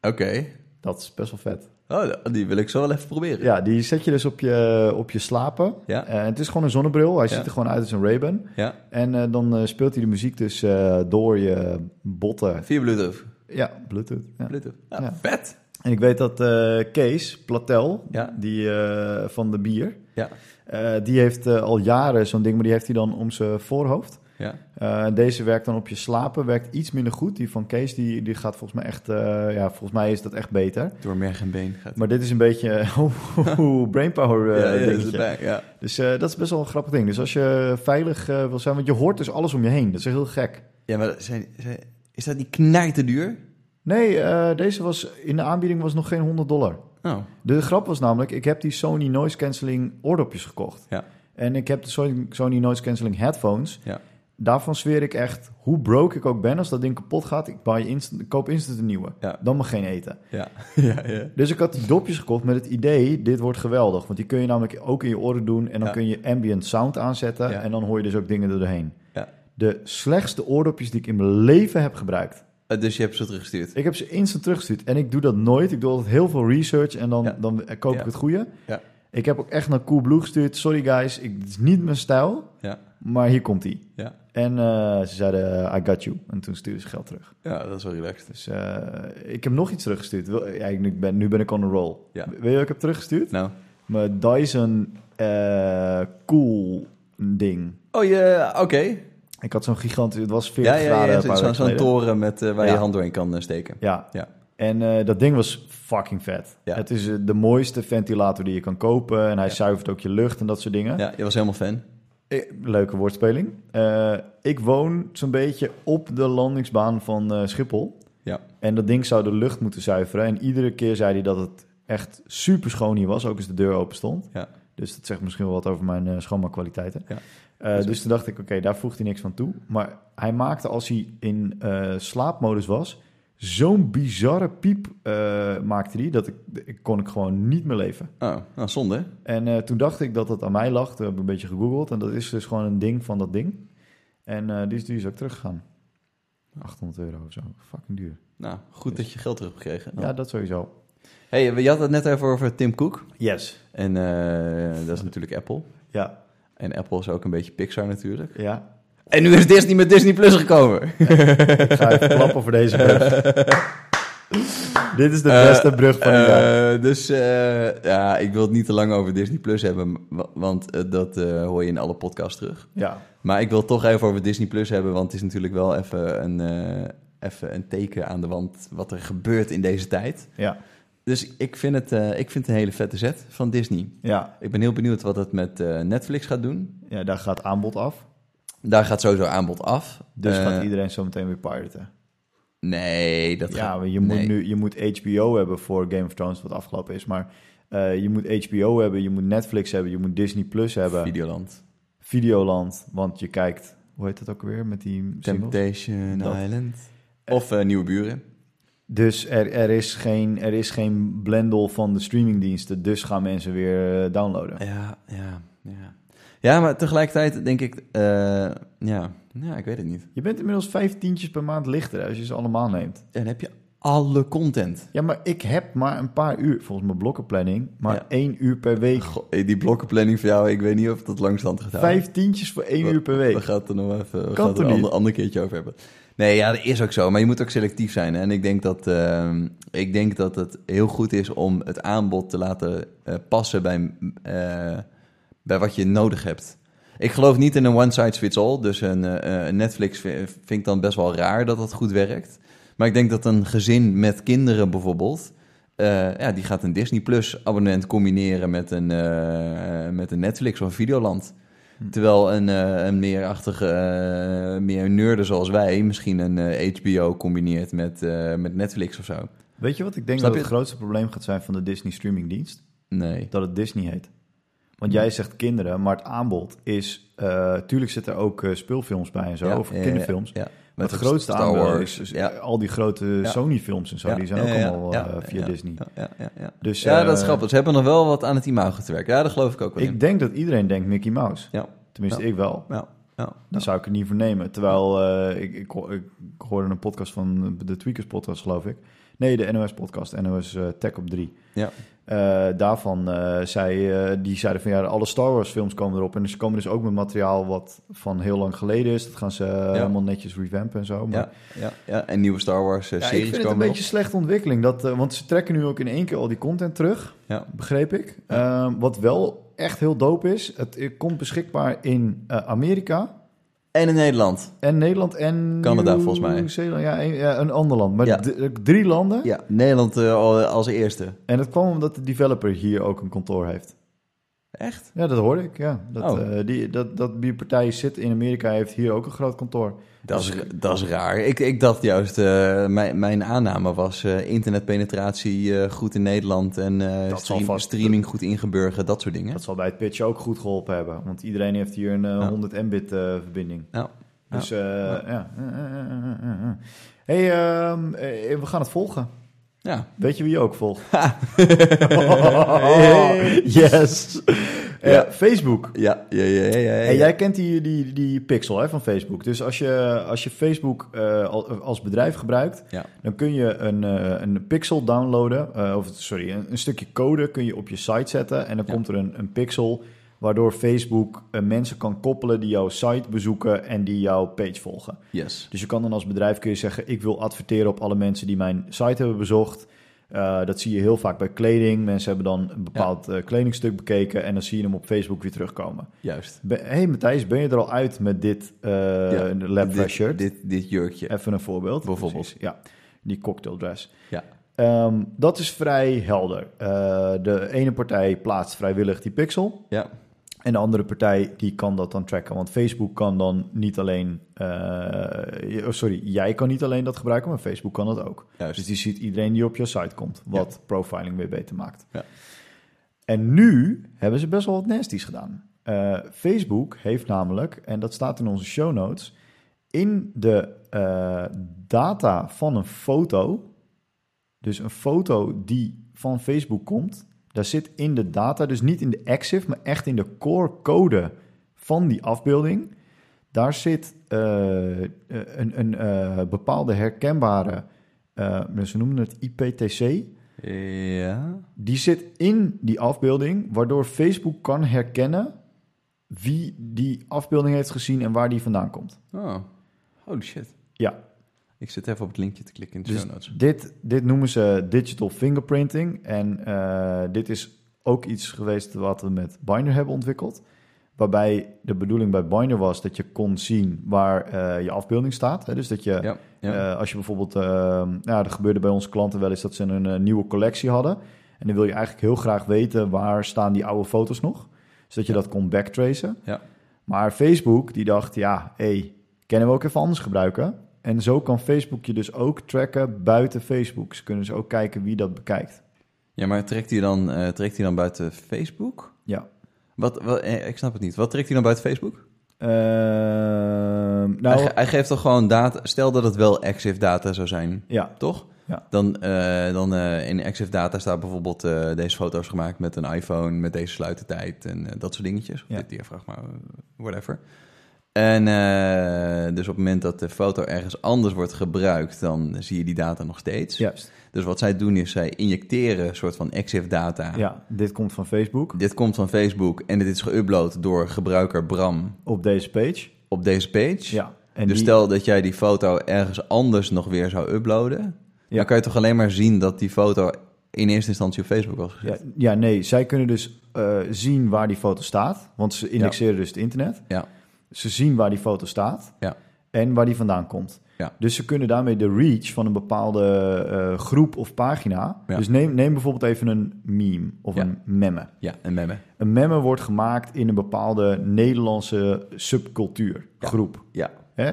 Oké.
Dat is best wel vet.
Oh, die wil ik zo wel even proberen.
Ja, die zet je dus op je, op je slapen.
Ja.
Eh, het is gewoon een zonnebril. Hij
Ja.
ziet er gewoon uit als een Ray-Ban.
Ja.
En eh, dan eh, speelt hij de muziek dus eh, door je botten.
Via Bluetooth.
Ja, Bluetooth. Ja.
Bluetooth. Ja,
Ja.
Vet.
En ik weet dat eh, Kees Platel,
Ja.
die eh, van de bier,
Ja.
eh, die heeft eh, al jaren zo'n ding, maar die heeft hij dan om zijn voorhoofd.
Ja.
Eh, deze werkt dan op je slapen, werkt iets minder goed. Die van Kees die, die gaat volgens mij echt, eh, ja, volgens mij is dat echt beter.
Door merg en been gaat.
Maar dit is een beetje oh, brainpower eh,
ja, ja, dat is
dingetje.
erbij, ja.
Dus eh, dat is best wel een grappig ding. Dus als je veilig eh, wil zijn, want je hoort dus alles om je heen. Dat is heel gek.
ja, maar zijn, zijn, is dat niet knijter duur?
Nee, eh, deze was in de aanbieding was nog geen 100 dollar.
Oh.
De grap was namelijk, ik heb die Sony noise cancelling oordopjes gekocht.
Ja.
En ik heb de Sony, Sony noise cancelling headphones.
Ja.
Daarvan zweer ik echt, hoe broke ik ook ben, als dat ding kapot gaat, ik buy instant, koop instant een nieuwe.
Ja.
Dan mag geen eten.
Ja. ja, ja.
Dus ik had die dopjes gekocht met het idee, dit wordt geweldig. Want die kun je namelijk ook in je oren doen en dan
Ja.
kun je ambient sound aanzetten.
Ja.
En dan hoor je dus ook dingen er doorheen.
Ja.
De slechtste oordopjes die ik in mijn leven heb gebruikt.
Eh, Dus je hebt ze teruggestuurd.
Ik heb ze instant teruggestuurd. En ik doe dat nooit. Ik doe altijd heel veel research en dan,
Ja.
dan koop
Ja.
ik het goede.
Ja.
Ik heb ook echt naar Coolblue gestuurd. Sorry guys, ik, dit is niet mijn stijl,
Ja.
maar hier komt ie.
Ja.
En eh, ze zeiden, eh, I got you. En toen stuurden ze geld terug.
Ja, dat is wel relaxed.
Dus eh, ik heb nog iets teruggestuurd. Wil- Ja, ik, nu, ben, nu ben ik on a roll.
Ja.
Weet je wat ik heb teruggestuurd?
Nou.
Mijn Dyson eh, Cool ding.
Oh, ja, oké.
Ik had zo'n gigantisch... Het was 40
Ja, ja,
graden
ja,
een
zo-
paar
zo'n
weken
zo'n
geleden.
toren met, eh, waar je
Ja.
hand doorheen kan eh, steken.
Ja.
Ja.
En eh, dat ding was fucking vet.
Ja.
Het is eh, de mooiste ventilator die je kan kopen. En hij
Ja.
zuivert ook je lucht en dat soort dingen.
Ja, je was helemaal fan.
Eh, Leuke woordspeling. Eh, ik woon zo'n beetje op de landingsbaan van eh, Schiphol.
Ja.
En dat ding zou de lucht moeten zuiveren. En iedere keer zei hij dat het echt super schoon hier was. Ook als de deur open stond.
Ja.
Dus dat zegt misschien wel wat over mijn eh, schoonmaakkwaliteiten.
Ja.
Eh, dus toen dacht ik, oké, daar voegt hij niks van toe. Maar hij maakte als hij in eh, slaapmodus was... zo'n bizarre piep eh, maakte hij... dat ik, ik kon ik gewoon niet meer leven.
Oh, nou, zonde. hè?
En eh, toen dacht ik dat dat aan mij lag. Toen heb ik een beetje gegoogeld. En dat is dus gewoon een ding van dat ding. En eh, die, is, die is ook teruggegaan. 800 euro of zo. Fucking duur. Oh.
Nou, goed dat je geld terug hebt gekregen.
Dus- Ja, dat sowieso.
Hey, we- je had het net even over Tim Cook.
Yes.
En eh, dat is natuurlijk Apple.
Ja,
En Apple is ook een beetje Pixar natuurlijk.
ja.
En nu is Disney met Disney Plus gekomen.
Ik ga even klappen voor deze brug. Dit is de beste brug van de dag.
Eh, dus eh, ja, ik wil het niet te lang over Disney Plus hebben, wa- want eh, dat eh, hoor je in alle podcasts terug.
Ja,
Maar ik wil het toch even over Disney Plus hebben, want het is natuurlijk wel even een, eh, even een teken aan de wand wat er gebeurt in deze tijd.
ja,
Dus ik vind het, eh, ik vind het een hele vette zet van Disney.
ja.
Ik ben heel benieuwd wat het met eh, Netflix gaat doen.
Ja, daar gaat aanbod af.
Daar gaat sowieso aanbod af.
Dus
Eh,
gaat iedereen zo meteen weer piraten.
Nee, dat
ja,
gaat...
maar je moet
nee.
nu je moet HBO hebben voor Game of Thrones, wat afgelopen is. Maar eh, je moet HBO hebben, je moet Netflix hebben, je moet Disney Plus hebben.
Videoland.
Videoland, want je kijkt... Hoe heet dat ook weer met die singles?
Temptation
Dat.
Island. Of eh, Nieuwe Buren.
Dus er, er, is geen, er is geen blendel van de streamingdiensten. Dus gaan mensen weer eh, downloaden.
Ja, ja, ja. Ja, maar tegelijkertijd denk ik, eh, ja, ja, ik weet het niet.
Je bent inmiddels vijf tientjes per maand lichter als je ze allemaal neemt.
Dan heb je alle content.
Ja, maar ik heb maar een paar uur, volgens mijn blokkenplanning, maar
Ja.
één uur per week.
Goh, die blokkenplanning voor jou, ik weet niet of dat lang stand gaat houden.
Vijf tientjes voor één uur per
We
week.
gaan het er nog even we
Kan
gaan het
toch
er een
niet?
ander, ander keertje over hebben. Nee, ja, dat is ook zo. Maar je moet ook selectief zijn. hè. En ik denk dat, ehm, ik denk dat het heel goed is om het aanbod te laten eh, passen bij, eh, bij wat je nodig hebt. Ik geloof niet in een one size fits all. Dus een, eh, eh, Netflix vi- vind ik dan best wel raar dat dat goed werkt. Maar ik denk dat een gezin met kinderen bijvoorbeeld... eh, ja, die gaat een Disney Plus abonnement combineren met een, eh, met een Netflix of een Videoland. Terwijl een, eh, een meerachtige, eh, meer nerden zoals wij misschien een eh, HBO combineert met, eh, met Netflix of zo.
Weet je wat ik denk
Snap
dat
je?
het grootste probleem gaat zijn van de Disney streamingdienst?
Nee.
Dat het Disney heet. Want jij zegt kinderen, maar het aanbod is... eh, tuurlijk zitten er ook eh, speelfilms bij en zo,
Ja,
of
ja, ja,
kinderfilms.
Ja.
Maar het
Met
grootste
Star
aanbod
Wars,
is, is
ja.
al die grote Sony-films en zo.
Ja,
Die zijn
ja,
ook
ja,
allemaal
ja,
eh,
ja,
via
ja,
Disney.
Ja, ja, ja, ja.
Dus,
ja, dat is
eh,
grappig. Ze hebben nog wel wat aan het imago te werken. Ja, dat geloof ik ook wel in.
Ik denk dat iedereen denkt Mickey Mouse.
Ja.
Tenminste,
Ja.
ik wel.
Ja, ja,
Dan zou ik er niet voor nemen. Terwijl eh, ik, ik, ho- ik hoorde een podcast van de Tweakers podcast, geloof ik. Nee, de NOS podcast, NOS eh, Tech op 3.
ja.
Eh, daarvan eh, zei, eh, die zeiden van ja, alle Star Wars films komen erop. En ze komen dus ook met materiaal wat van heel lang geleden is. Dat gaan ze eh, helemaal netjes revampen en zo. Maar
Ja, ja, ja. En nieuwe Star Wars eh,
Ja, ik
series
vind het
komen
een
erop.
beetje slechte ontwikkeling. Dat, eh, want ze trekken nu ook in één keer al die content terug,
Ja.
begreep ik. Ehm, wat wel echt heel dope is, het, eh, komt beschikbaar in eh, Amerika
En in Nederland.
en Nederland en...
Canada, volgens mij.
Nieuw-Zeeland, ja, een, ja, een ander land. Maar
Ja.
d- drie landen.
Ja, Nederland eh, al- als eerste.
En dat kwam omdat de developer hier ook een kantoor heeft.
Echt?
Ja, dat hoorde ik, ja. Dat,
Oh.
eh, die, dat, dat die partij zit in Amerika, heeft hier ook een groot kantoor.
Dat is, dat is raar. Ik, ik dacht juist, eh, mijn, mijn aanname was eh, internetpenetratie eh, goed in Nederland en eh,
Dat zal
stream-
vast-
streaming goed ingeburgerd, dat soort dingen.
Dat zal bij het pitchen ook goed geholpen hebben. Want iedereen heeft hier een eh,
Ja.
100 mbit eh, verbinding.
Ja.
Dus eh, ja. Eh, eh, eh, eh, eh, eh. hey, ehm, eh, we gaan het volgen.
Ja.
Weet je wie je ook volgt? yes. Eh,
Ja.
Facebook.
Ja, ja, ja, ja, ja, ja.
En jij kent die, die, die pixel hè, van Facebook. Dus als je, als je Facebook eh, al- als bedrijf gebruikt,
Ja.
dan kun je een, eh, een pixel downloaden. eh, of sorry, een, een stukje code kun je op je site zetten. En dan
Ja.
komt er een, een pixel waardoor Facebook eh, mensen kan koppelen die jouw site bezoeken en die jouw page volgen.
Yes.
Dus je kan dan als bedrijf kun je zeggen: ik wil adverteren op alle mensen die mijn site hebben bezocht. Eh, dat zie je heel vaak bij kleding. Mensen hebben dan een bepaald eh, kledingstuk bekeken en dan zie je hem op Facebook weer terugkomen.
Juist.
Hé hey Matthijs, ben je er al uit met dit eh lab
dit,
shirt?
Dit, dit jurkje.
Even een voorbeeld.
Bijvoorbeeld.
Precies, ja, die cocktaildress.
Ja.
Ehm, dat is vrij helder. Eh, de ene partij plaatst vrijwillig die pixel.
Ja.
En de andere partij die kan dat dan tracken. Want Facebook kan dan niet alleen. eh, je- oh, sorry, jij kan niet alleen dat gebruiken, maar Facebook kan dat ook.
Juist.
Dus die ziet iedereen die op jouw site komt. Wat profiling weer beter maakt.
Ja.
En nu hebben ze best wel wat nasties gedaan. Eh, Facebook heeft namelijk, en dat staat in onze show notes, in de eh, data van een foto, dus een foto die van Facebook komt, daar zit in de data, dus niet in de EXIF, maar echt in de core code van die afbeelding, daar zit eh, een, een eh, bepaalde herkenbare, eh, ze noemen het IPTC,
Ja.
die zit in die afbeelding, waardoor Facebook kan herkennen wie die afbeelding heeft gezien en waar die vandaan komt.
Oh. Holy shit.
Ja,
Ik zit even op het linkje te klikken in de
Dus
show notes.
dit, dit noemen ze digital fingerprinting. En eh, dit is ook iets geweest wat we met Binder hebben ontwikkeld. Waarbij de bedoeling bij Binder was dat je kon zien waar eh, je afbeelding staat. Hè? Dus dat je
Ja. ja.
Eh, als je bijvoorbeeld, eh, nou ja, er gebeurde bij onze klanten wel eens dat ze een eh, nieuwe collectie hadden. En dan wil je eigenlijk heel graag weten waar staan die oude foto's nog. Zodat je dat kon backtracen.
Ja.
Maar Facebook die dacht, ja, hé, kunnen we ook even anders gebruiken? En zo kan Facebook je dus ook tracken buiten Facebook. Ze kunnen dus ook kijken wie dat bekijkt.
ja, maar trekt hij dan, eh, trekt hij dan buiten Facebook?
Ja.
Wat, wat, eh, ik snap het niet. Wat trekt hij dan buiten Facebook?
Ehm, nou,
hij, ge- hij geeft toch gewoon data. Stel dat het wel EXIF data zou zijn,
ja,
toch?
Ja.
Dan, eh, dan eh, in EXIF data staat bijvoorbeeld eh, deze foto's gemaakt met een iPhone, met deze sluitertijd en eh, dat soort dingetjes. Of
Ja.
dit diafragma, eh, whatever. En eh, dus op het moment dat de foto ergens anders wordt gebruikt, dan zie je die data nog steeds.
juist.
Dus wat zij doen is zij injecteren een soort van EXIF data.
Ja, dit komt van Facebook
Dit komt van Facebook en dit is geüpload door gebruiker Bram
op deze page.
op deze page.
Ja. En
dus
die-
stel dat jij die foto ergens anders nog weer zou uploaden,
Ja.
dan kan je toch alleen maar zien dat die foto in eerste instantie op Facebook was gezet.
Ja, ja, nee, zij kunnen dus eh, zien waar die foto staat. Want ze indexeren dus het internet.
Ja.
Ze zien waar die foto staat
Ja.
en waar die vandaan komt.
Ja.
Dus ze kunnen daarmee de reach van een bepaalde eh, groep of pagina.
Ja.
Dus neem, neem bijvoorbeeld even een meme of
Ja.
een memme.
Ja, en memme.
Een memme wordt gemaakt in een bepaalde Nederlandse subcultuur,
Ja.
groep.
Ja.
Hè?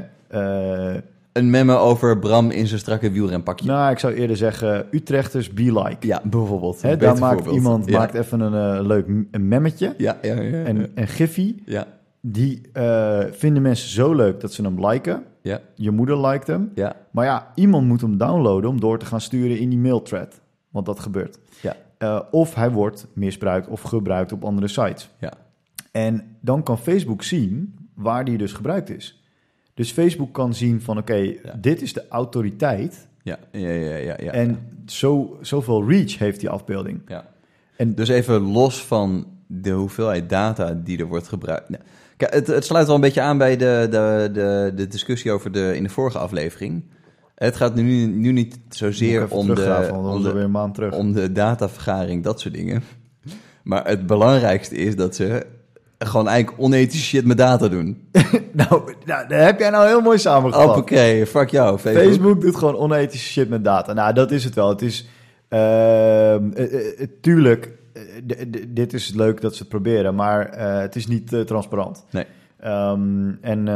Eh,
een memo over Bram in zijn strakke wielrenpakje.
Nou, ik zou eerder zeggen Utrechters be like.
ja, bijvoorbeeld.
Hè,
Een
daar
beter
maakt
voorbeeld.
iemand
ja.
maakt even een eh, leuk m- een memmetje.
Ja, ja, ja. ja.
En, en Giffy,
ja,
die eh, vinden mensen zo leuk dat ze hem liken.
ja,
Je moeder liked hem.
ja.
Maar ja, iemand moet hem downloaden om door te gaan sturen in die mailthread. Want dat gebeurt.
Ja.
Eh, of hij wordt misbruikt of gebruikt op andere sites.
Ja.
En dan kan Facebook zien waar die dus gebruikt is. Dus Facebook kan zien van oké, dit is de autoriteit.
Ja, ja, ja, ja, ja.
En zo, zoveel reach heeft die afbeelding.
Ja.
En-
En dus even los van de hoeveelheid data die er wordt gebruikt. Nou, kijk, het, het sluit wel een beetje aan bij de, de, de, de discussie over de, in de vorige aflevering. Het gaat nu, nu niet
Moet ik
zozeer
even
om de,
teruggraven, want dan
om,
is het
de,
weer een maand terug.
om de datavergaring, dat soort dingen. Maar het belangrijkste is dat ze gewoon eigenlijk onethisch shit met data doen.
Nou, nou, daar heb jij nou heel mooi samengevat.
Hoppakee, fuck jou, Facebook.
Facebook doet gewoon onethische shit met data. Nou, dat is het wel. Het is. ehm, eh, eh, eh, tuurlijk, eh, d- d- dit is leuk dat ze het proberen, maar eh, het is niet eh, transparant.
Nee.
Ehm, en eh,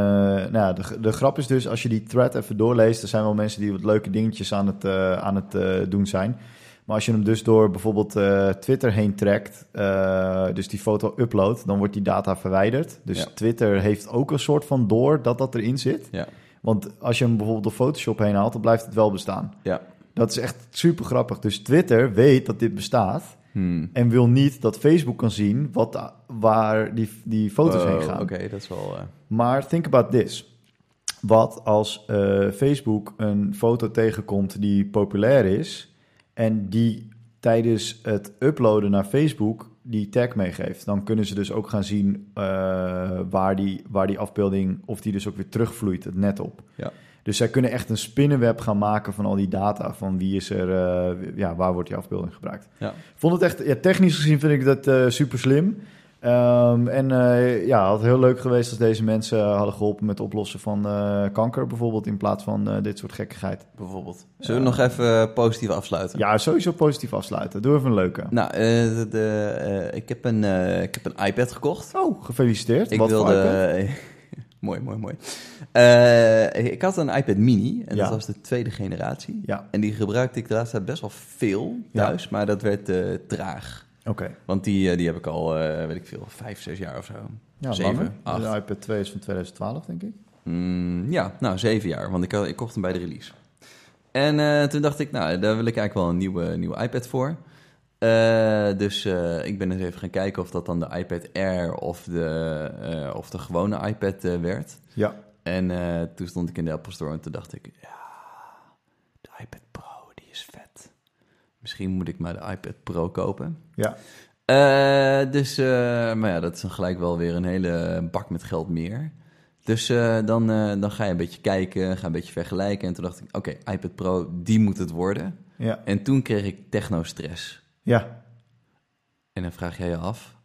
nou, ja, de, de grap is dus, als je die thread even doorleest, er zijn wel mensen die wat leuke dingetjes aan het, eh, aan het eh, doen zijn. Maar als je hem dus door bijvoorbeeld eh, Twitter heen trekt, eh, dus die foto uploadt, dan wordt die data verwijderd. Dus
Ja.
Twitter heeft ook een soort van door dat dat erin zit.
Ja,
Want als je hem bijvoorbeeld door Photoshop heen haalt, dan blijft het wel bestaan.
ja.
Dat is echt super grappig. Dus Twitter weet dat dit bestaat
Hmm.
en wil niet dat Facebook kan zien wat, waar die, die foto's heen
Oh,
gaan.
Oké, dat is wel... eh,
Maar think about this. Wat als eh, Facebook een foto tegenkomt die populair is en die tijdens het uploaden naar Facebook die tag meegeeft? Dan kunnen ze dus ook gaan zien eh, waar, die, waar die afbeelding, of die dus ook weer terugvloeit het net op.
Ja.
Dus zij kunnen echt een spinnenweb gaan maken van al die data, van wie is er, eh, ja, waar wordt die afbeelding gebruikt.
ja.
Vond het echt, ja, technisch gezien vind ik dat eh, super slim. Ehm, en eh, ja, had heel leuk geweest als deze mensen hadden geholpen met het oplossen van eh, kanker bijvoorbeeld, in plaats van eh, dit soort gekkigheid.
Bijvoorbeeld. Zullen we nog even positief afsluiten?
Ja, sowieso positief afsluiten. Doe even een leuke.
Nou, eh, de, de, eh, ik, heb een, eh, ik heb een iPad gekocht.
Oh, gefeliciteerd.
Ik
Wat voor iPad?
mooi, mooi, mooi. Eh, ik had een iPad mini en
Ja.
dat was de tweede generatie.
Ja,
En die gebruikte ik de laatste tijd best wel veel
Ja.
thuis, maar dat werd eh, traag.
oké.
Want die, eh, die heb ik al, eh, weet ik veel, vijf, zes jaar of zo.
Ja,
Zeven,
langer.
acht.
De iPad 2 is van 2012, denk ik.
Mm, ja, nou, zeven jaar, want ik, had- ik kocht hem bij de release. En eh, toen dacht ik, nou, daar wil ik eigenlijk wel een nieuwe, nieuwe iPad voor. Eh, dus eh, ik ben eens even gaan kijken of dat dan de iPad Air of de, eh, of de gewone iPad eh, werd.
Ja.
En eh, toen stond ik in de Apple Store en toen dacht ik, ja, de iPad Pro, die is vet. Misschien moet ik maar de iPad Pro kopen.
Ja.
Eh, dus, eh, maar ja, dat is dan gelijk wel weer een hele bak met geld meer. Dus eh, dan, eh, dan ga je een beetje kijken, ga een beetje vergelijken. En toen dacht ik, oké, iPad Pro, die moet het worden.
Ja.
En toen kreeg ik technostress.
ja.
En dan vraag jij je af,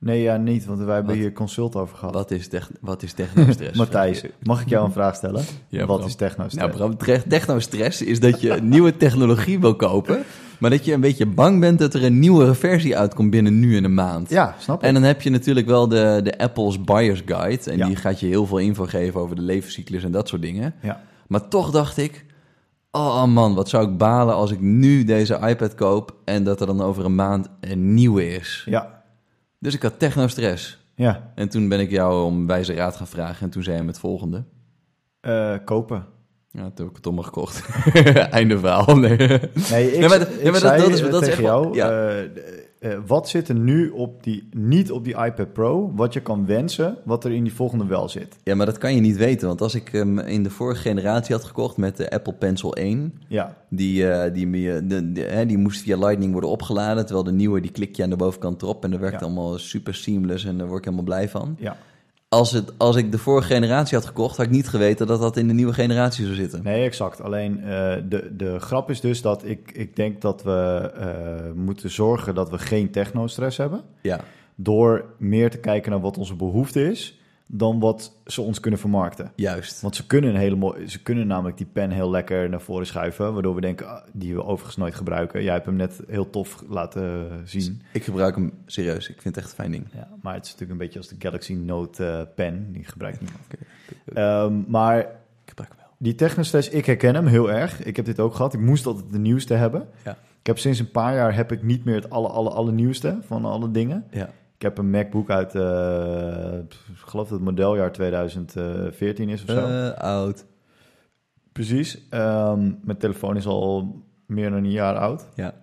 Nee, ja, niet, want wij hebben
Wat?
hier consult over gehad.
wat is, tech- wat is technostress?
Matthijs,
Vraag
mag ik jou een vraag stellen?
Ja,
Wat
Bram.
is techno
je. Nou, Bram, tre- technostress is dat je nieuwe technologie wil kopen... maar dat je een beetje bang bent dat er een nieuwere versie uitkomt binnen nu en een maand.
Ja, snap ik.
En dan heb je natuurlijk wel de, de Apple's Buyer's Guide. En
Ja.
die gaat je heel veel info geven over de levenscyclus en dat soort dingen.
Ja.
Maar toch dacht ik, oh man, wat zou ik balen als ik nu deze iPad koop en dat er dan over een maand een nieuwe is.
Ja.
Dus ik had technostress.
Ja.
En toen ben ik jou om wijze raad gaan vragen en toen zei hij me het volgende.
Eh, kopen.
Ja, toen heb ik het allemaal gekocht. Einde verhaal. Nee.
Nee, ik,
Nee, maar
ik
d- nee, maar
zei
dat- dat is-
eh,
dat is
tegen
echt wel-
jou,
ja.
eh, eh, eh, wat zit er nu op die, niet op die iPad Pro, wat je kan wensen, wat er in die volgende wel zit?
Ja, maar dat kan je niet weten. Want als ik hem in de vorige generatie had gekocht met de Apple Pencil 1...
Ja,
Die, eh, die, die, de- de- hè, die moest via Lightning worden opgeladen. Terwijl de nieuwe, die klik je aan de bovenkant erop. En dat werkt
Ja.
allemaal super seamless en daar word ik helemaal blij van.
ja.
Als, het, als ik de vorige generatie had gekocht, had ik niet geweten dat dat in de nieuwe generatie zou zitten.
Nee, exact. Alleen eh, de, de grap is dus dat ik, ik denk dat we eh, moeten zorgen dat we geen technostress hebben.
Ja,
Door meer te kijken naar wat onze behoefte is, dan wat ze ons kunnen vermarkten.
juist.
Want ze kunnen, een hele mooi, ze kunnen namelijk die pen heel lekker naar voren schuiven. Waardoor we denken, ah, die we overigens nooit gebruiken. Jij hebt hem net heel tof laten eh, zien.
Ik gebruik hem serieus. Ik vind het echt een fijn ding.
Ja, maar het is natuurlijk een beetje als de Galaxy Note eh, pen. Die gebruikt niemand.
Oké, oké, oké.
Ehm, maar
Ik gebruik hem wel.
die technostest, ik herken hem heel erg. Ik heb dit ook gehad. Ik moest altijd de nieuwste hebben.
Ja.
Ik heb sinds een paar jaar heb ik niet meer het alle, alle, alle nieuwste van alle dingen.
Ja.
Ik heb een MacBook uit, eh, ik geloof dat het modeljaar 2014 is of zo.
Eh, oud.
Precies. Ehm, mijn telefoon is al meer dan een jaar oud.
Ja.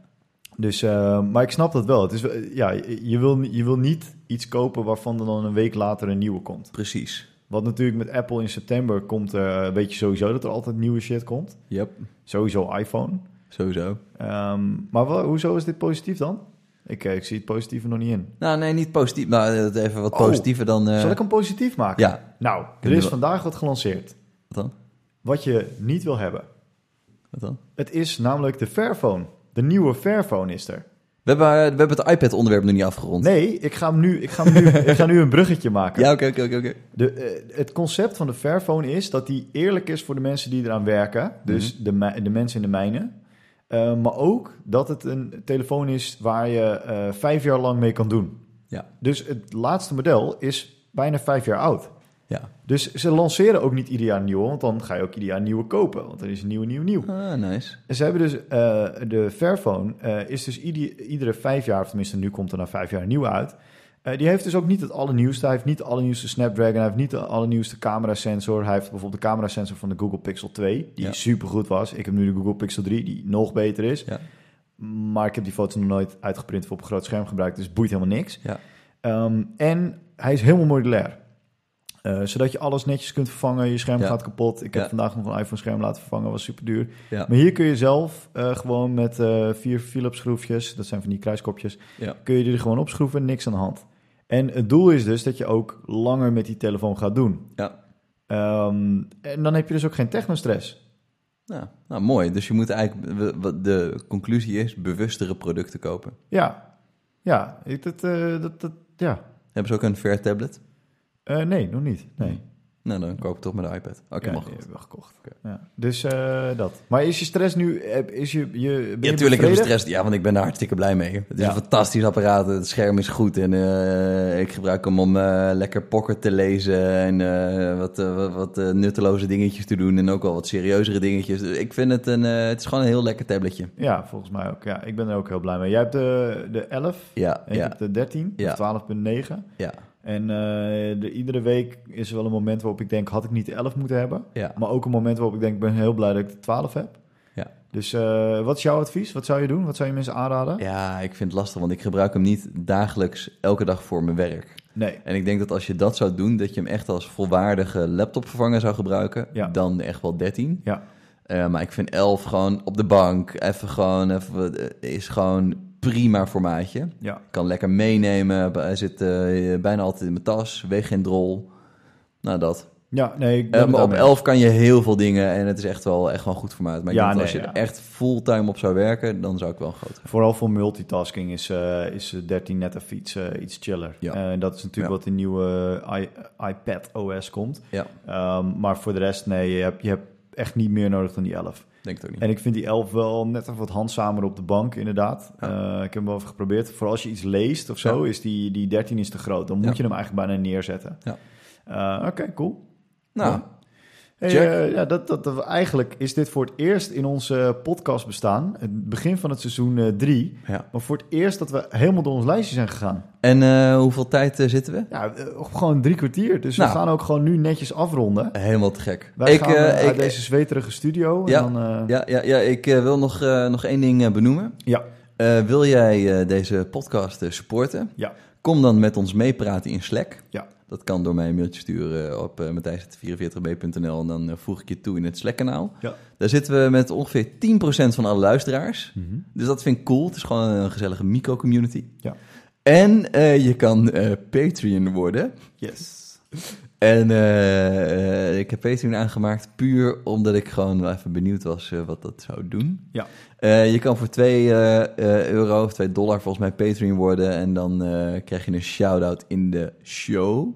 Dus, eh, maar ik snap dat wel. Het is, wel- ja, je, wil, je wil niet iets kopen waarvan er dan een week later een nieuwe komt.
Precies.
Wat natuurlijk met Apple in september komt, eh, weet je sowieso dat er altijd nieuwe shit komt.
Yep.
Sowieso iPhone.
Sowieso.
Ehm, maar wa- hoezo is dit positief dan? Ik, eh, ik zie het positieve nog niet in.
Nou, nee, niet positief. Maar eh, even wat
Oh.
positiever dan... eh,
Zal ik hem positief maken?
Ja.
Nou, er
Kunnen
is
we-
vandaag wat gelanceerd.
Wat dan?
Wat je niet wil hebben.
Wat dan?
Het is namelijk de Fairphone. De nieuwe Fairphone is er.
We hebben, eh, we hebben het iPad-onderwerp nog niet afgerond.
Nee, ik ga, hem nu, ik, ga hem nu, ik ga nu een bruggetje maken.
Ja, oké, oké, oké, oké.
De, eh, het concept van de Fairphone is dat die eerlijk is voor de mensen die eraan werken. Dus
Mhm.
de, mi- de mensen in de mijnen. Eh, maar ook dat het een telefoon is waar je eh, vijf jaar lang mee kan doen.
Ja.
Dus het laatste model is bijna vijf jaar oud.
Ja.
Dus ze lanceren ook niet ieder jaar een nieuwe, want dan ga je ook ieder jaar een nieuwe kopen. Want er is een nieuwe, nieuw, nieuw.
Ah, nice.
Ze hebben dus, eh, de Fairphone eh, is dus ieder- iedere vijf jaar, of tenminste nu komt er na vijf jaar een nieuwe uit. Eh, die heeft dus ook niet het allernieuwste. Hij heeft niet de allernieuwste Snapdragon. Hij heeft niet de allernieuwste camerasensor. Hij heeft bijvoorbeeld de camerasensor van de Google Pixel 2, die
Ja.
supergoed was. Ik heb nu de Google Pixel 3, die nog beter is.
Ja.
Maar ik heb die foto's nog nooit uitgeprint of op een groot scherm gebruikt, dus het boeit helemaal niks.
Ja.
Ehm, en hij is helemaal modulair. Eh, zodat je alles netjes kunt vervangen. Je scherm
Ja.
gaat kapot. Ik heb
Ja.
vandaag nog een iPhone-scherm laten vervangen. was super duur.
Ja.
Maar hier kun je zelf eh, gewoon met eh, vier Philips schroefjes, dat zijn van die kruiskopjes,
Ja.
kun je die er gewoon opschroeven, niks aan de hand. En het doel is dus dat je ook langer met die telefoon gaat doen.
Ja.
Ehm, en dan heb je dus ook geen technostress.
Nou, nou, mooi. Dus je moet eigenlijk... we- wat De conclusie is bewustere producten kopen.
Ja, ja, ik- dat, eh, dat, dat, ja.
Hebben ze ook een fair tablet?
Eh, nee, nog niet. Nee.
Nou, dan koop ik toch maar de iPad. Oké,
ja,
mag
die
goed.
hebben we gekocht.
Oké.
Ja. Dus eh, dat. Maar is je stress nu, eh, is je, je, ben je
Ja, tuurlijk heb ik
bevreden?
stress. Ja, want ik ben er hartstikke blij mee. Het is
Ja.
een fantastisch apparaat. Het scherm is goed. En eh, ik gebruik hem om eh, lekker pocket te lezen. En eh, wat, eh, wat, wat, eh, nutteloze dingetjes te doen. En ook wel wat serieuzere dingetjes. Dus ik vind het een... eh, het is gewoon een heel lekker tabletje.
Ja, volgens mij ook. Ja, ik ben er ook heel blij mee. Jij hebt de, de 11
Ja,
en ik
ja,
heb de 13,
Ja.
of 12.9.
ja,
En eh, de- iedere week is er wel een moment waarop ik denk, had ik niet de 11 moeten hebben.
ja.
Maar ook een moment waarop ik denk, ik ben heel blij dat ik de 12 heb.
Ja.
Dus eh, wat is jouw advies? Wat zou je doen? Wat zou je mensen aanraden?
Ja, ik vind het lastig, want ik gebruik hem niet dagelijks elke dag voor mijn werk.
Nee.
En ik denk dat als je dat zou doen, dat je hem echt als volwaardige laptopvervanger zou gebruiken,
Ja.
dan echt wel 13.
Ja.
Eh, maar ik vind 11 gewoon op de bank, even gewoon, even, wat, eh, is gewoon prima formaatje.
Ja.
Kan lekker meenemen, b- hij zit eh, bijna altijd in mijn tas, weegt geen drol. Nou, dat.
Ja, nee, ik ben
Eh,
het
maar op
daarmee.
11 kan je heel veel dingen en het is echt wel, echt wel een goed formaat. Maar ik
Ja,
denk
nee,
dat als je
ja.
er echt fulltime op zou werken, dan zou ik wel een groot
Vooral voor multitasking is, eh, is eh, 13 net even iets, eh, iets chiller.
Ja.
En dat is natuurlijk
Ja.
wat de nieuwe eh, i- iPad OS komt.
Ja.
Ehm, maar voor de rest, nee, je hebt, je hebt echt niet meer nodig dan die 11.
Denk het ook niet.
En ik vind die 11 wel net even wat handzamer op de bank, inderdaad. Eh, ik heb hem wel even geprobeerd. Vooral als je iets leest of zo, is die, die 13 is te groot. Dan moet
Ja.
je hem eigenlijk bijna neerzetten.
Ja.
Eh, Oké, cool.
Nou,
Hey,
Check.
eh, ja, dat, dat, dat- eigenlijk is dit voor het eerst in onze podcast bestaan. Het begin van het seizoen 3.
ja.
maar voor het eerst dat we helemaal door ons lijstje zijn gegaan.
En eh, hoeveel tijd eh, zitten we?
Ja, eh, gewoon drie kwartier. Dus
Nou.
we gaan ook gewoon nu netjes afronden.
Helemaal te gek.
Wij
ik,
gaan
eh,
eh, uit
ik-
deze zweterige studio.
Ja.
En dan, eh,
ja, ja, ja, ik eh, wil nog, eh, nog één ding eh, benoemen.
ja.
Eh, wil jij eh, deze podcast eh, supporten?
Ja.
Kom dan met ons meepraten in Slack.
Ja.
Dat kan door mij een mailtje sturen op uh, matthijs.44b.nl en dan eh, voeg ik je toe in het Slack-kanaal.
Ja.
Daar zitten we met ongeveer 10% van alle luisteraars. Dus dat vind ik cool. Het is gewoon een gezellige micro-community.
Ja.
En eh, je kan eh, Patreon worden.
Yes.
En eh, eh, ik heb Patreon aangemaakt puur omdat ik gewoon wel even benieuwd was eh, wat dat zou doen.
Ja.
Eh, je kan voor 2 euro of 2 dollar volgens mij Patreon worden en dan eh, krijg je een shout-out in de show.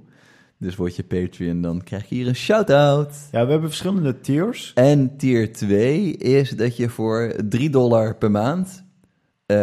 Dus word je Patreon, dan krijg je hier een shout-out.
Ja, we hebben verschillende tiers.
En tier 2 is dat je voor 3 dollar per maand eh,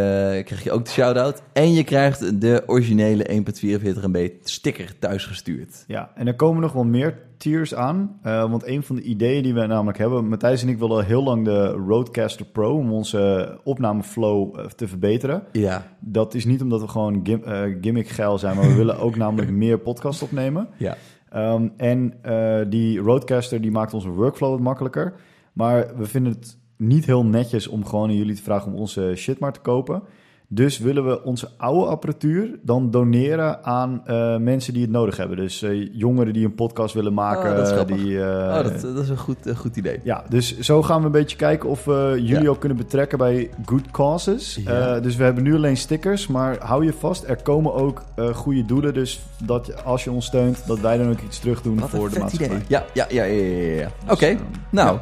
krijg je ook de shout-out. En je krijgt de originele 1.44 MB sticker thuisgestuurd.
Ja, en er komen nog wel meer tiers aan. eh, want een van de ideeën die we namelijk hebben... Matthijs en ik willen heel lang de Roadcaster Pro... om onze opnameflow eh, te verbeteren.
Ja,
Dat is niet omdat we gewoon gim eh, gimmick geil zijn... maar we willen ook namelijk meer podcasts opnemen.
ja.
Ehm, en eh, die Roadcaster die maakt onze workflow wat makkelijker. Maar we vinden het niet heel netjes om gewoon aan jullie te vragen om onze shit maar te kopen. Dus willen we onze oude apparatuur dan doneren aan eh, mensen die het nodig hebben. Dus eh, jongeren die een podcast willen maken.
Oh, dat is grappig.
die, eh,
Oh, dat, dat is een goed, een goed idee.
Ja, dus zo gaan we een beetje kijken of we jullie
Ja.
ook kunnen betrekken bij good causes.
Ja.
Eh, dus we hebben nu alleen stickers, maar hou je vast, er komen ook eh, goede doelen. Dus dat je- als je ons steunt, dat wij dan ook iets terug doen
Wat
voor
een
de
vet
maatschappij.
idee. Ja, ja, ja, ja, ja, ja. Oké,
eh,
nou,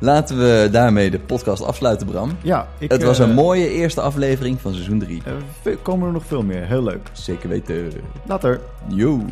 laten we daarmee de podcast afsluiten, Bram.
Ja, ik,
het was
eh,
een mooie eerste aflevering van seizoen 3.
eh, komen er nog veel meer. Heel leuk.
Zeker weten.
Later.
Yo.